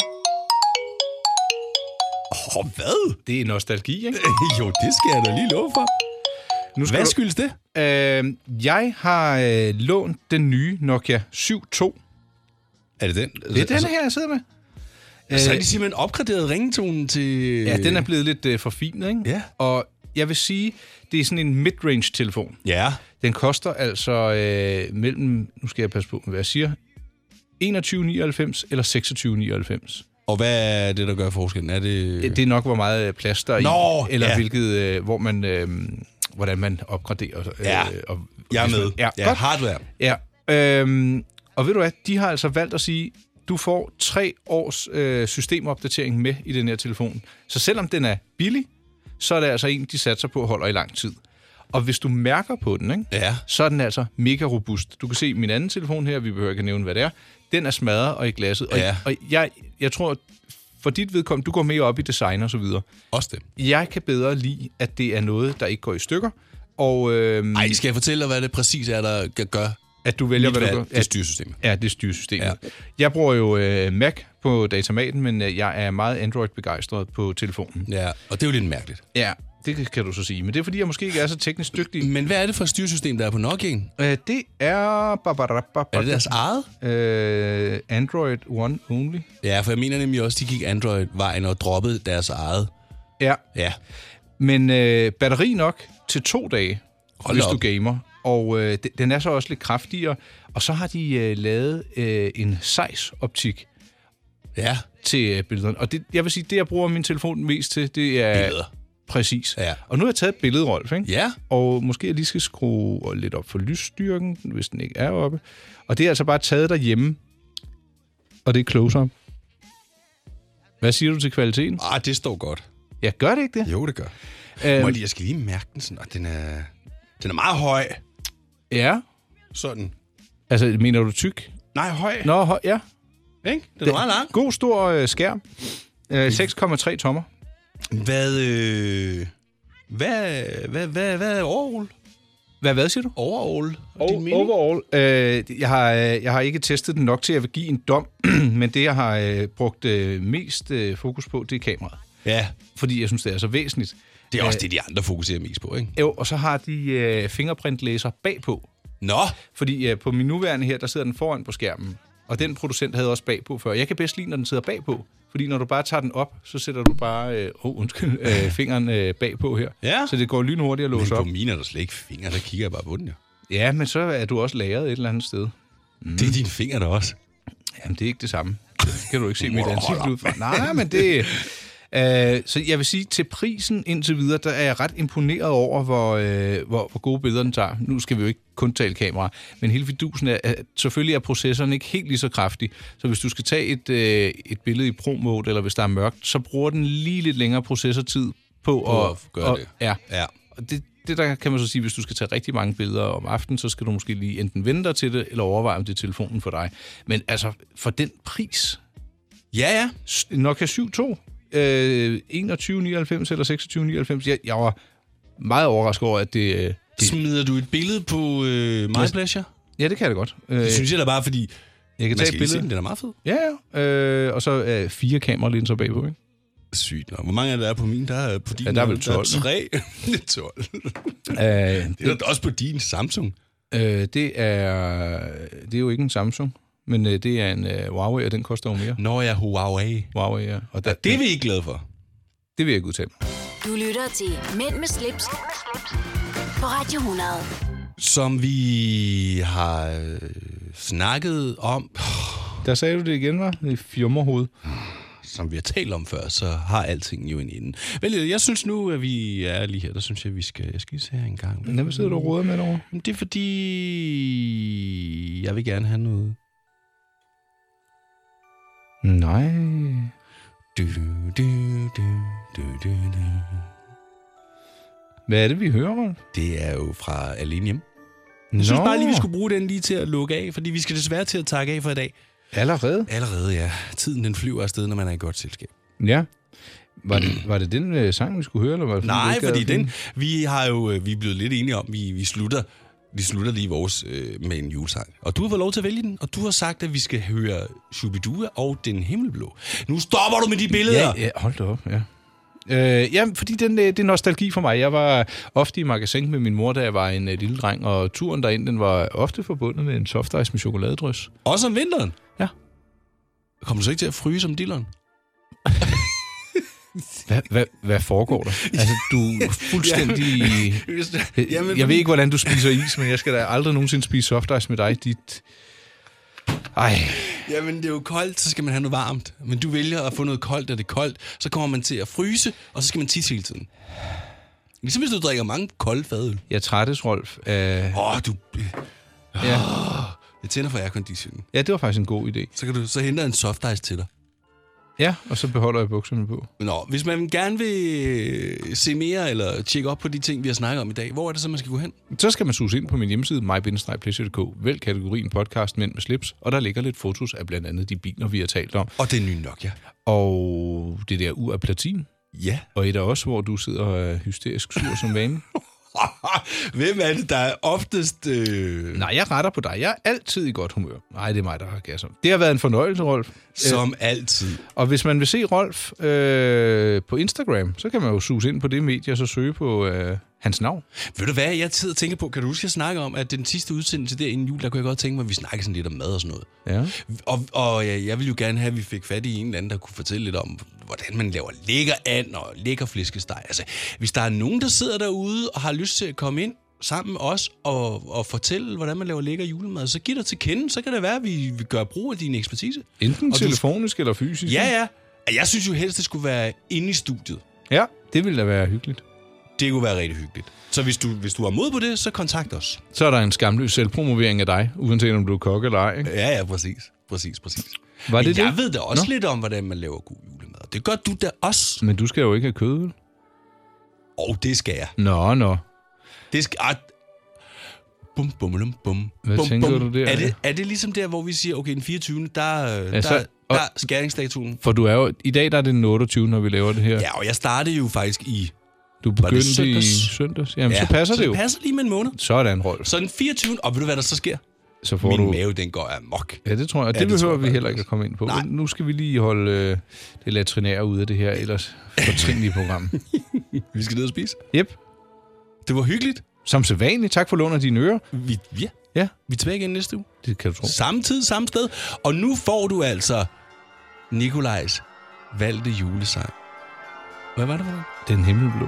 [SPEAKER 2] Åh, oh, hvad?
[SPEAKER 3] det er nostalgi, ikke?
[SPEAKER 2] [LAUGHS] jo, det skal jeg da lige love for.
[SPEAKER 3] Øh, Nu
[SPEAKER 2] Hvad skyldes det?
[SPEAKER 3] Øh, jeg har øh, lånt den nye Nokia 72.
[SPEAKER 2] Er det den? Altså,
[SPEAKER 3] Det er den her, jeg sidder med.
[SPEAKER 2] Så har
[SPEAKER 3] Øh,
[SPEAKER 2] de simpelthen opgraderet ringetonen til...
[SPEAKER 3] ja, den er blevet lidt øh, forfinet, ikke?
[SPEAKER 2] Ja.
[SPEAKER 3] Og jeg vil sige, det er sådan en mid-range-telefon.
[SPEAKER 2] Ja.
[SPEAKER 3] Den koster altså øh, mellem, nu skal jeg passe på, med, hvad jeg siger, 21,99 eller 26,99.
[SPEAKER 2] Og hvad er det, der gør forskellen? Er det...
[SPEAKER 3] Det er nok, hvor meget øh, plads der er
[SPEAKER 2] Nå,
[SPEAKER 3] i, eller
[SPEAKER 2] ja.
[SPEAKER 3] hvilket, øh, hvor man, øh, hvordan man opgraderer. Øh,
[SPEAKER 2] Ja,
[SPEAKER 3] og,
[SPEAKER 2] Jeg er
[SPEAKER 3] hvis man-
[SPEAKER 2] med.
[SPEAKER 3] Ja, ja. Godt.
[SPEAKER 2] hardware.
[SPEAKER 3] Ja. Øhm, og ved du hvad, de har altså valgt at sige, du får tre års øh, systemopdatering med i den her telefon. Så selvom den er billig, så er det altså en, de satser på holder i lang tid. Og hvis du mærker på den, ikke,
[SPEAKER 2] Ja.
[SPEAKER 3] så er den altså mega robust. Du kan se min anden telefon her, vi behøver ikke at nævne, hvad det er. Den er smadret og i glasset. Og,
[SPEAKER 2] Ja.
[SPEAKER 3] og jeg, jeg tror, for dit vedkommende, du går mere op i design og så videre.
[SPEAKER 2] Også det.
[SPEAKER 3] Jeg kan bedre lide, at det er noget, der ikke går i stykker. Og øhm,
[SPEAKER 2] Ej, skal jeg fortælle dig, hvad det præcis er, der gør- gør
[SPEAKER 3] at du vælger,
[SPEAKER 2] mit
[SPEAKER 3] hvad du
[SPEAKER 2] valg?
[SPEAKER 3] gør.
[SPEAKER 2] Det styresystemet.
[SPEAKER 3] Ja, det er styresystemet.
[SPEAKER 2] Ja.
[SPEAKER 3] Ja. Jeg bruger jo øh, Mac på datamaten, men øh, jeg er meget Android-begejstret på telefonen.
[SPEAKER 2] Ja, og det er jo lidt mærkeligt.
[SPEAKER 3] Ja, det kan- kan du så sige. Men det er, fordi jeg måske ikke er så teknisk dygtig.
[SPEAKER 2] Men hvad er det for et styresystem, der er på Nokia'en?
[SPEAKER 3] Øh, det er...
[SPEAKER 2] Er det deres eget?
[SPEAKER 3] Øh, Android One Only.
[SPEAKER 2] Ja, for jeg mener nemlig også, de gik Android-vejen og droppede deres eget.
[SPEAKER 3] Ja,
[SPEAKER 2] Ja.
[SPEAKER 3] men øh, batteri nok til to dage,
[SPEAKER 2] Hold
[SPEAKER 3] Hold hvis
[SPEAKER 2] da
[SPEAKER 3] op.
[SPEAKER 2] op.
[SPEAKER 3] du gamer. Og øh, de- den er så også lidt kraftigere. Og så har de øh, lavet øh, en size-optik
[SPEAKER 2] Ja.
[SPEAKER 3] til øh, billederne. Og det, jeg vil sige, det jeg bruger min telefon mest til, det er...
[SPEAKER 2] Billeder.
[SPEAKER 3] Præcis.
[SPEAKER 2] Ja.
[SPEAKER 3] Og nu har jeg taget et billede, Rolf, ikke?
[SPEAKER 2] Ja.
[SPEAKER 3] Og måske jeg lige skal skrue lidt op for lysstyrken, hvis den ikke er oppe. Og det er altså bare taget derhjemme. Og det er close-up. Hvad siger du til kvaliteten?
[SPEAKER 2] Ah, det står godt.
[SPEAKER 3] Jeg gør det ikke det.
[SPEAKER 2] Jo, det gør. Må jeg,
[SPEAKER 3] Øhm,
[SPEAKER 2] lige, jeg skal lige mærke den sådan, og den er, den er meget høj.
[SPEAKER 3] ja.
[SPEAKER 2] Sådan.
[SPEAKER 3] Altså, mener du tyk?
[SPEAKER 2] Nej, høj. Nå.
[SPEAKER 3] Nå, høj, ja.
[SPEAKER 2] Ikke? Den er meget lang.
[SPEAKER 3] God stor øh, skærm. Øh, 6,3 tommer.
[SPEAKER 2] Hvad, øh, hvad, hvad, hvad, hvad er overall?
[SPEAKER 3] Hvad, hvad siger du?
[SPEAKER 2] Overall?
[SPEAKER 3] Og, overall, øh, jeg, har, øh, jeg har ikke testet den nok til, at jeg vil give en dom, [CLEARS THROAT] men det, jeg har øh, brugt øh, mest øh, fokus på, det er kameraet.
[SPEAKER 2] Ja,
[SPEAKER 3] fordi jeg synes, det er så væsentligt.
[SPEAKER 2] det er også
[SPEAKER 3] Øh,
[SPEAKER 2] det, de andre fokuserer mest på, ikke?
[SPEAKER 3] Jo, og så har de øh, fingerprintlæser bagpå.
[SPEAKER 2] Nå,
[SPEAKER 3] Fordi øh, på min nuværende her, der sidder den foran på skærmen. Og den producent havde også bagpå før. Jeg kan bedst lide, når den sidder bagpå. Fordi når du bare tager den op, så sætter du bare øh, oh, undskyld, øh, fingeren øh, bagpå her.
[SPEAKER 2] Ja.
[SPEAKER 3] Så det går lynhurtigt at
[SPEAKER 2] men
[SPEAKER 3] låse
[SPEAKER 2] på
[SPEAKER 3] op.
[SPEAKER 2] mine er der slet ikke fingre, der kigger jeg bare på den, jo.
[SPEAKER 3] Ja, men så er du også lagret et eller andet sted.
[SPEAKER 2] Mm. Det er dine fingre der også.
[SPEAKER 3] Jamen, det er ikke det samme. Det kan du ikke se mit
[SPEAKER 2] Hold
[SPEAKER 3] ansigt
[SPEAKER 2] op,
[SPEAKER 3] ud fra. Nej, men det... Øh, så jeg vil sige, til prisen indtil videre, der er jeg ret imponeret over, hvor, øh, hvor, hvor gode billeder den tager. Nu skal vi jo ikke kun tale kamera, men hele fidusen er, at selvfølgelig er processoren ikke helt lige så kraftig. Så hvis du skal tage et, øh, et billede i pro-mode, eller hvis der er mørkt, så bruger den lige lidt længere processortid på,
[SPEAKER 2] På
[SPEAKER 3] at,
[SPEAKER 2] at gøre
[SPEAKER 3] og,
[SPEAKER 2] det.
[SPEAKER 3] Ja.
[SPEAKER 2] Ja.
[SPEAKER 3] Og det, det der kan man så sige, hvis du skal tage rigtig mange billeder om aftenen, så skal du måske lige enten vente dig til det, eller overveje, om det er telefonen for dig. Men altså, for den pris,
[SPEAKER 2] Ja, ja.
[SPEAKER 3] s- Nokia 7.2, øh, 21,99 eller 26,99, jeg, jeg var meget overrasket over, at det... Øh, det
[SPEAKER 2] Smider du et billede på øh, My
[SPEAKER 3] Yes.
[SPEAKER 2] Pleasure?
[SPEAKER 3] ja, det kan det godt. Øh,
[SPEAKER 2] Det synes jeg da bare, fordi
[SPEAKER 3] jeg kan
[SPEAKER 2] man
[SPEAKER 3] tage
[SPEAKER 2] skal
[SPEAKER 3] et
[SPEAKER 2] lige se den,
[SPEAKER 3] billede.
[SPEAKER 2] den er meget fed.
[SPEAKER 3] Ja, ja. Øh, og så øh, fire kameralinser bagpå, ikke?
[SPEAKER 2] Sygt nok. Hvor mange er der er på min? Der er øh, på din.
[SPEAKER 3] Ja, der er vel 12,
[SPEAKER 2] Der er tre. [LAUGHS] det er 12.
[SPEAKER 3] Øh,
[SPEAKER 2] Det er der også på din Samsung.
[SPEAKER 3] øh, det, er, det er jo ikke en Samsung, men øh, det er en øh, Huawei, og den koster jo mere.
[SPEAKER 2] Når jeg Huawei.
[SPEAKER 3] Huawei, ja. Og der,
[SPEAKER 2] Ja, det er vi ikke glade for.
[SPEAKER 3] det vil jeg ikke udtale. mig.
[SPEAKER 1] Du lytter til Mænd med slips, på Radio 100.
[SPEAKER 2] Som vi har øh, snakket om, oh,
[SPEAKER 3] Der sagde du det igen, var I fjummerhoved.
[SPEAKER 2] som vi har talt om før, så har alting jo en ende. Vel, øh, jeg synes nu, at vi er lige her. Der synes jeg, vi skal, jeg skal lige se her en gang.
[SPEAKER 3] Hvad sidder du og roder med derovre?
[SPEAKER 2] Jamen, Det er fordi, jeg vil gerne have noget.
[SPEAKER 3] Nej.
[SPEAKER 2] Du, du, du, du, du, du.
[SPEAKER 3] Hvad er det, vi hører, Rolf?
[SPEAKER 2] Det er jo fra Alene Hjemme. Jeg synes bare lige, vi skulle bruge den lige til at lukke af, fordi vi skal desværre til at takke af for i dag.
[SPEAKER 3] Allerede?
[SPEAKER 2] Allerede, ja. Tiden den flyver afsted, når man er i godt selskab.
[SPEAKER 3] Ja. Var det, var det den øh, sang, vi skulle høre? Eller var det,
[SPEAKER 2] Mm. Nej,
[SPEAKER 3] vi
[SPEAKER 2] fordi
[SPEAKER 3] ikke havde
[SPEAKER 2] den, vi har jo, øh, vi er blevet lidt enige om, vi, vi slutter, vi slutter lige vores øh, med en julesang. Og du har fået lov til at vælge den, og du har sagt, at vi skal høre Shubidua og Den Himmelblå. Nu stopper du med de billeder!
[SPEAKER 3] Ja, ja, hold da op, ja. Øh, ja, fordi den, øh, det er nostalgi for mig. Jeg var ofte i magasin med min mor, da jeg var en øh, lille dreng, og turen derind, den var ofte forbundet med en softice med chokoladedrys.
[SPEAKER 2] Også om vinteren?
[SPEAKER 3] Ja.
[SPEAKER 2] Kommer du så ikke til at fryse som dilleren?
[SPEAKER 3] Hvad, hvad, hvad
[SPEAKER 2] [LAUGHS]
[SPEAKER 3] foregår der? Altså, du er fuldstændig...
[SPEAKER 2] Jamen,
[SPEAKER 3] Øh, Jeg ved ikke, hvordan du spiser is, men jeg skal da aldrig nogensinde spise softice med dig. Dit... Ej,
[SPEAKER 2] Jamen, det er jo koldt, så skal man have noget varmt. Men du vælger at få noget koldt, og det er koldt. Så kommer man til at fryse, og så skal man tisse hele tiden. Ligesom hvis du drikker mange kolde fadøl.
[SPEAKER 3] jeg trættes, Rolf. Uh, ja.
[SPEAKER 2] Åh, oh, du... Jeg tænder for airconditionen.
[SPEAKER 3] ja, det var faktisk en god idé.
[SPEAKER 2] Så, kan du, så henter jeg en softice til dig.
[SPEAKER 3] Ja, og så beholder jeg bukserne på.
[SPEAKER 2] Nå, hvis man gerne vil øh, se mere eller tjekke op på de ting, vi har snakket om i dag, hvor er det så, man skal gå hen?
[SPEAKER 3] Så skal man suge ind på min hjemmeside, mybindestrejpleasure.dk. Vælg kategorien podcast Mænd med slips, og der ligger lidt fotos af blandt andet de biler, vi har talt om.
[SPEAKER 2] Og det er ny Nokia.
[SPEAKER 3] Og det der ur af platin,
[SPEAKER 2] Ja. [LAUGHS]
[SPEAKER 3] og et af os, hvor du sidder og er hysterisk sur som vane.
[SPEAKER 2] Hvem er det, der er oftest... Øh,
[SPEAKER 3] Nej, jeg retter på dig. Jeg er altid i godt humør. Nej, det er mig, der har gasser. Det har været en fornøjelse, Rolf.
[SPEAKER 2] som altid.
[SPEAKER 3] Og hvis man vil se Rolf øh, på Instagram, så kan man jo suge ind på det medie og så søge på øh, hans navn.
[SPEAKER 2] Ved du hvad, jeg tid og tænker på, kan du huske, jeg snakker om, at den sidste udsendelse der inden jul, der kunne jeg godt tænke mig, at vi snakkede sådan lidt om mad og sådan noget.
[SPEAKER 3] Ja.
[SPEAKER 2] Og, og øh, jeg, jeg ville jo gerne have, at vi fik fat i en eller anden, der kunne fortælle lidt om, hvordan man laver lækker and og lækker flæskesteg. Altså, hvis der er nogen, der sidder derude og har lyst til at komme ind sammen med os og, og fortælle, hvordan man laver lækker julemad, så giv dig til kende, så kan det være, at vi, vi gør brug af din ekspertise.
[SPEAKER 3] Enten
[SPEAKER 2] Og du-
[SPEAKER 3] telefonisk eller fysisk.
[SPEAKER 2] Ja, ja. Jeg synes jo helst, det skulle være inde i studiet.
[SPEAKER 3] Ja, det ville da være hyggeligt.
[SPEAKER 2] Det kunne være rigtig hyggeligt. Så hvis du, hvis du har mod på det, så kontakt os.
[SPEAKER 3] Så er der en skamløs selvpromovering af dig, uanset om du er kok eller ej. ikke?
[SPEAKER 2] Ja, ja, præcis. Præcis, præcis.
[SPEAKER 3] Var det
[SPEAKER 2] Øh, Men jeg
[SPEAKER 3] det?
[SPEAKER 2] ved da også
[SPEAKER 3] Nå.
[SPEAKER 2] lidt om, hvordan man laver god julemad. Det gør du da også.
[SPEAKER 3] Men du skal jo ikke have kød. vel?
[SPEAKER 2] Og det skal jeg.
[SPEAKER 3] Nå, nå.
[SPEAKER 2] Det skal... Ah, bum, bum, bum, bum.
[SPEAKER 3] Hvad
[SPEAKER 2] bum,
[SPEAKER 3] tænker
[SPEAKER 2] bum.
[SPEAKER 3] du der?
[SPEAKER 2] Er det, er det ligesom der, hvor vi siger, okay, den 24. der, ja, der,
[SPEAKER 3] så-
[SPEAKER 2] der
[SPEAKER 3] og-
[SPEAKER 2] er skæringsstatuen.
[SPEAKER 3] For du er jo, i dag der er det den 28, når vi laver det her.
[SPEAKER 2] Ja, og jeg startede jo faktisk i...
[SPEAKER 3] Du
[SPEAKER 2] Var det
[SPEAKER 3] begyndte i
[SPEAKER 2] søndags?
[SPEAKER 3] søndags. Jamen, ja, så passer
[SPEAKER 2] så
[SPEAKER 3] det jo.
[SPEAKER 2] passer lige med en måned.
[SPEAKER 3] Sådan, Rolf.
[SPEAKER 2] Så den 24. Og ved du, hvad der så sker?
[SPEAKER 3] Så får
[SPEAKER 2] Min
[SPEAKER 3] du...
[SPEAKER 2] mave, den går amok.
[SPEAKER 3] Ja, det tror jeg.
[SPEAKER 2] Ja,
[SPEAKER 3] Og det,
[SPEAKER 2] det
[SPEAKER 3] det
[SPEAKER 2] tror
[SPEAKER 3] behøver
[SPEAKER 2] jeg
[SPEAKER 3] vi
[SPEAKER 2] faktisk.
[SPEAKER 3] heller ikke at komme ind på.
[SPEAKER 2] Nej.
[SPEAKER 3] Men nu skal vi lige holde øh, det latrinære ude af det her ellers fortrinlige
[SPEAKER 2] [LAUGHS]
[SPEAKER 3] program.
[SPEAKER 2] Vi skal ned og spise.
[SPEAKER 3] Jep.
[SPEAKER 2] Det var hyggeligt.
[SPEAKER 3] Som sædvanligt. Tak for lånet af dine ører.
[SPEAKER 2] Vi, ja,
[SPEAKER 3] Ja,
[SPEAKER 2] vi er tilbage igen næste uge.
[SPEAKER 3] det kan du tro.
[SPEAKER 2] Samme tid, samme sted. Og nu får du altså Nikolajs valgte julesang. Hvad var det for noget?
[SPEAKER 3] Den himmelblå.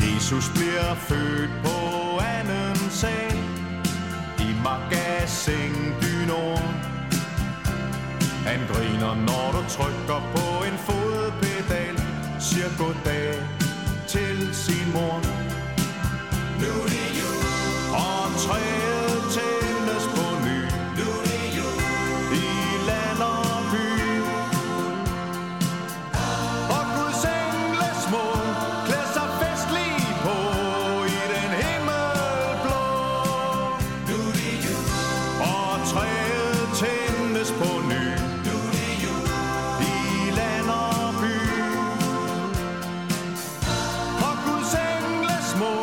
[SPEAKER 8] Jesus bliver født på anden sal I magasin du nord Han griner når du trykker på en fodpedal Siger goddag til sin mor Nu er det jul Og træet tændes på ny Nu er det jul I land og by og Guds engle små klæder sig festligt på i den himmelblå. Nu er det jul. Og træet tændes på ny. Nu er det jul. I land og by. Og Guds engle små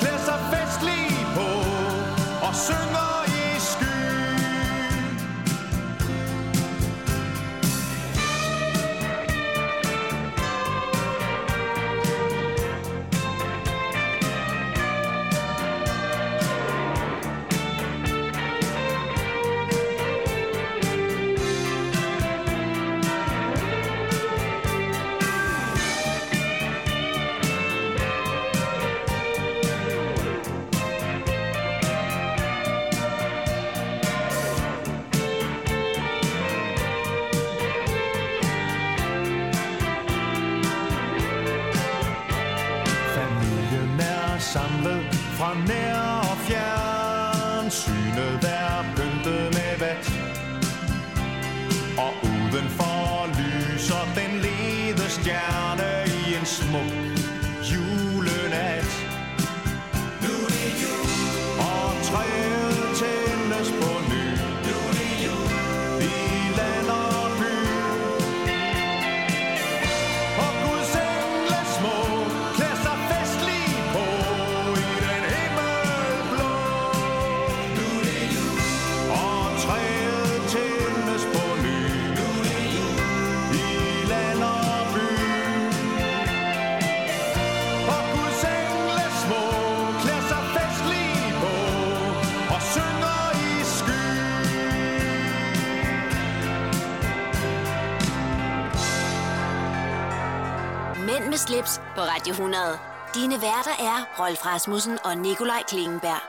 [SPEAKER 8] klæder sig festligt på og synger i sky.
[SPEAKER 1] med slips på Radio 100. Dine værter er Rolf Rasmussen og Nikolaj Klingenberg.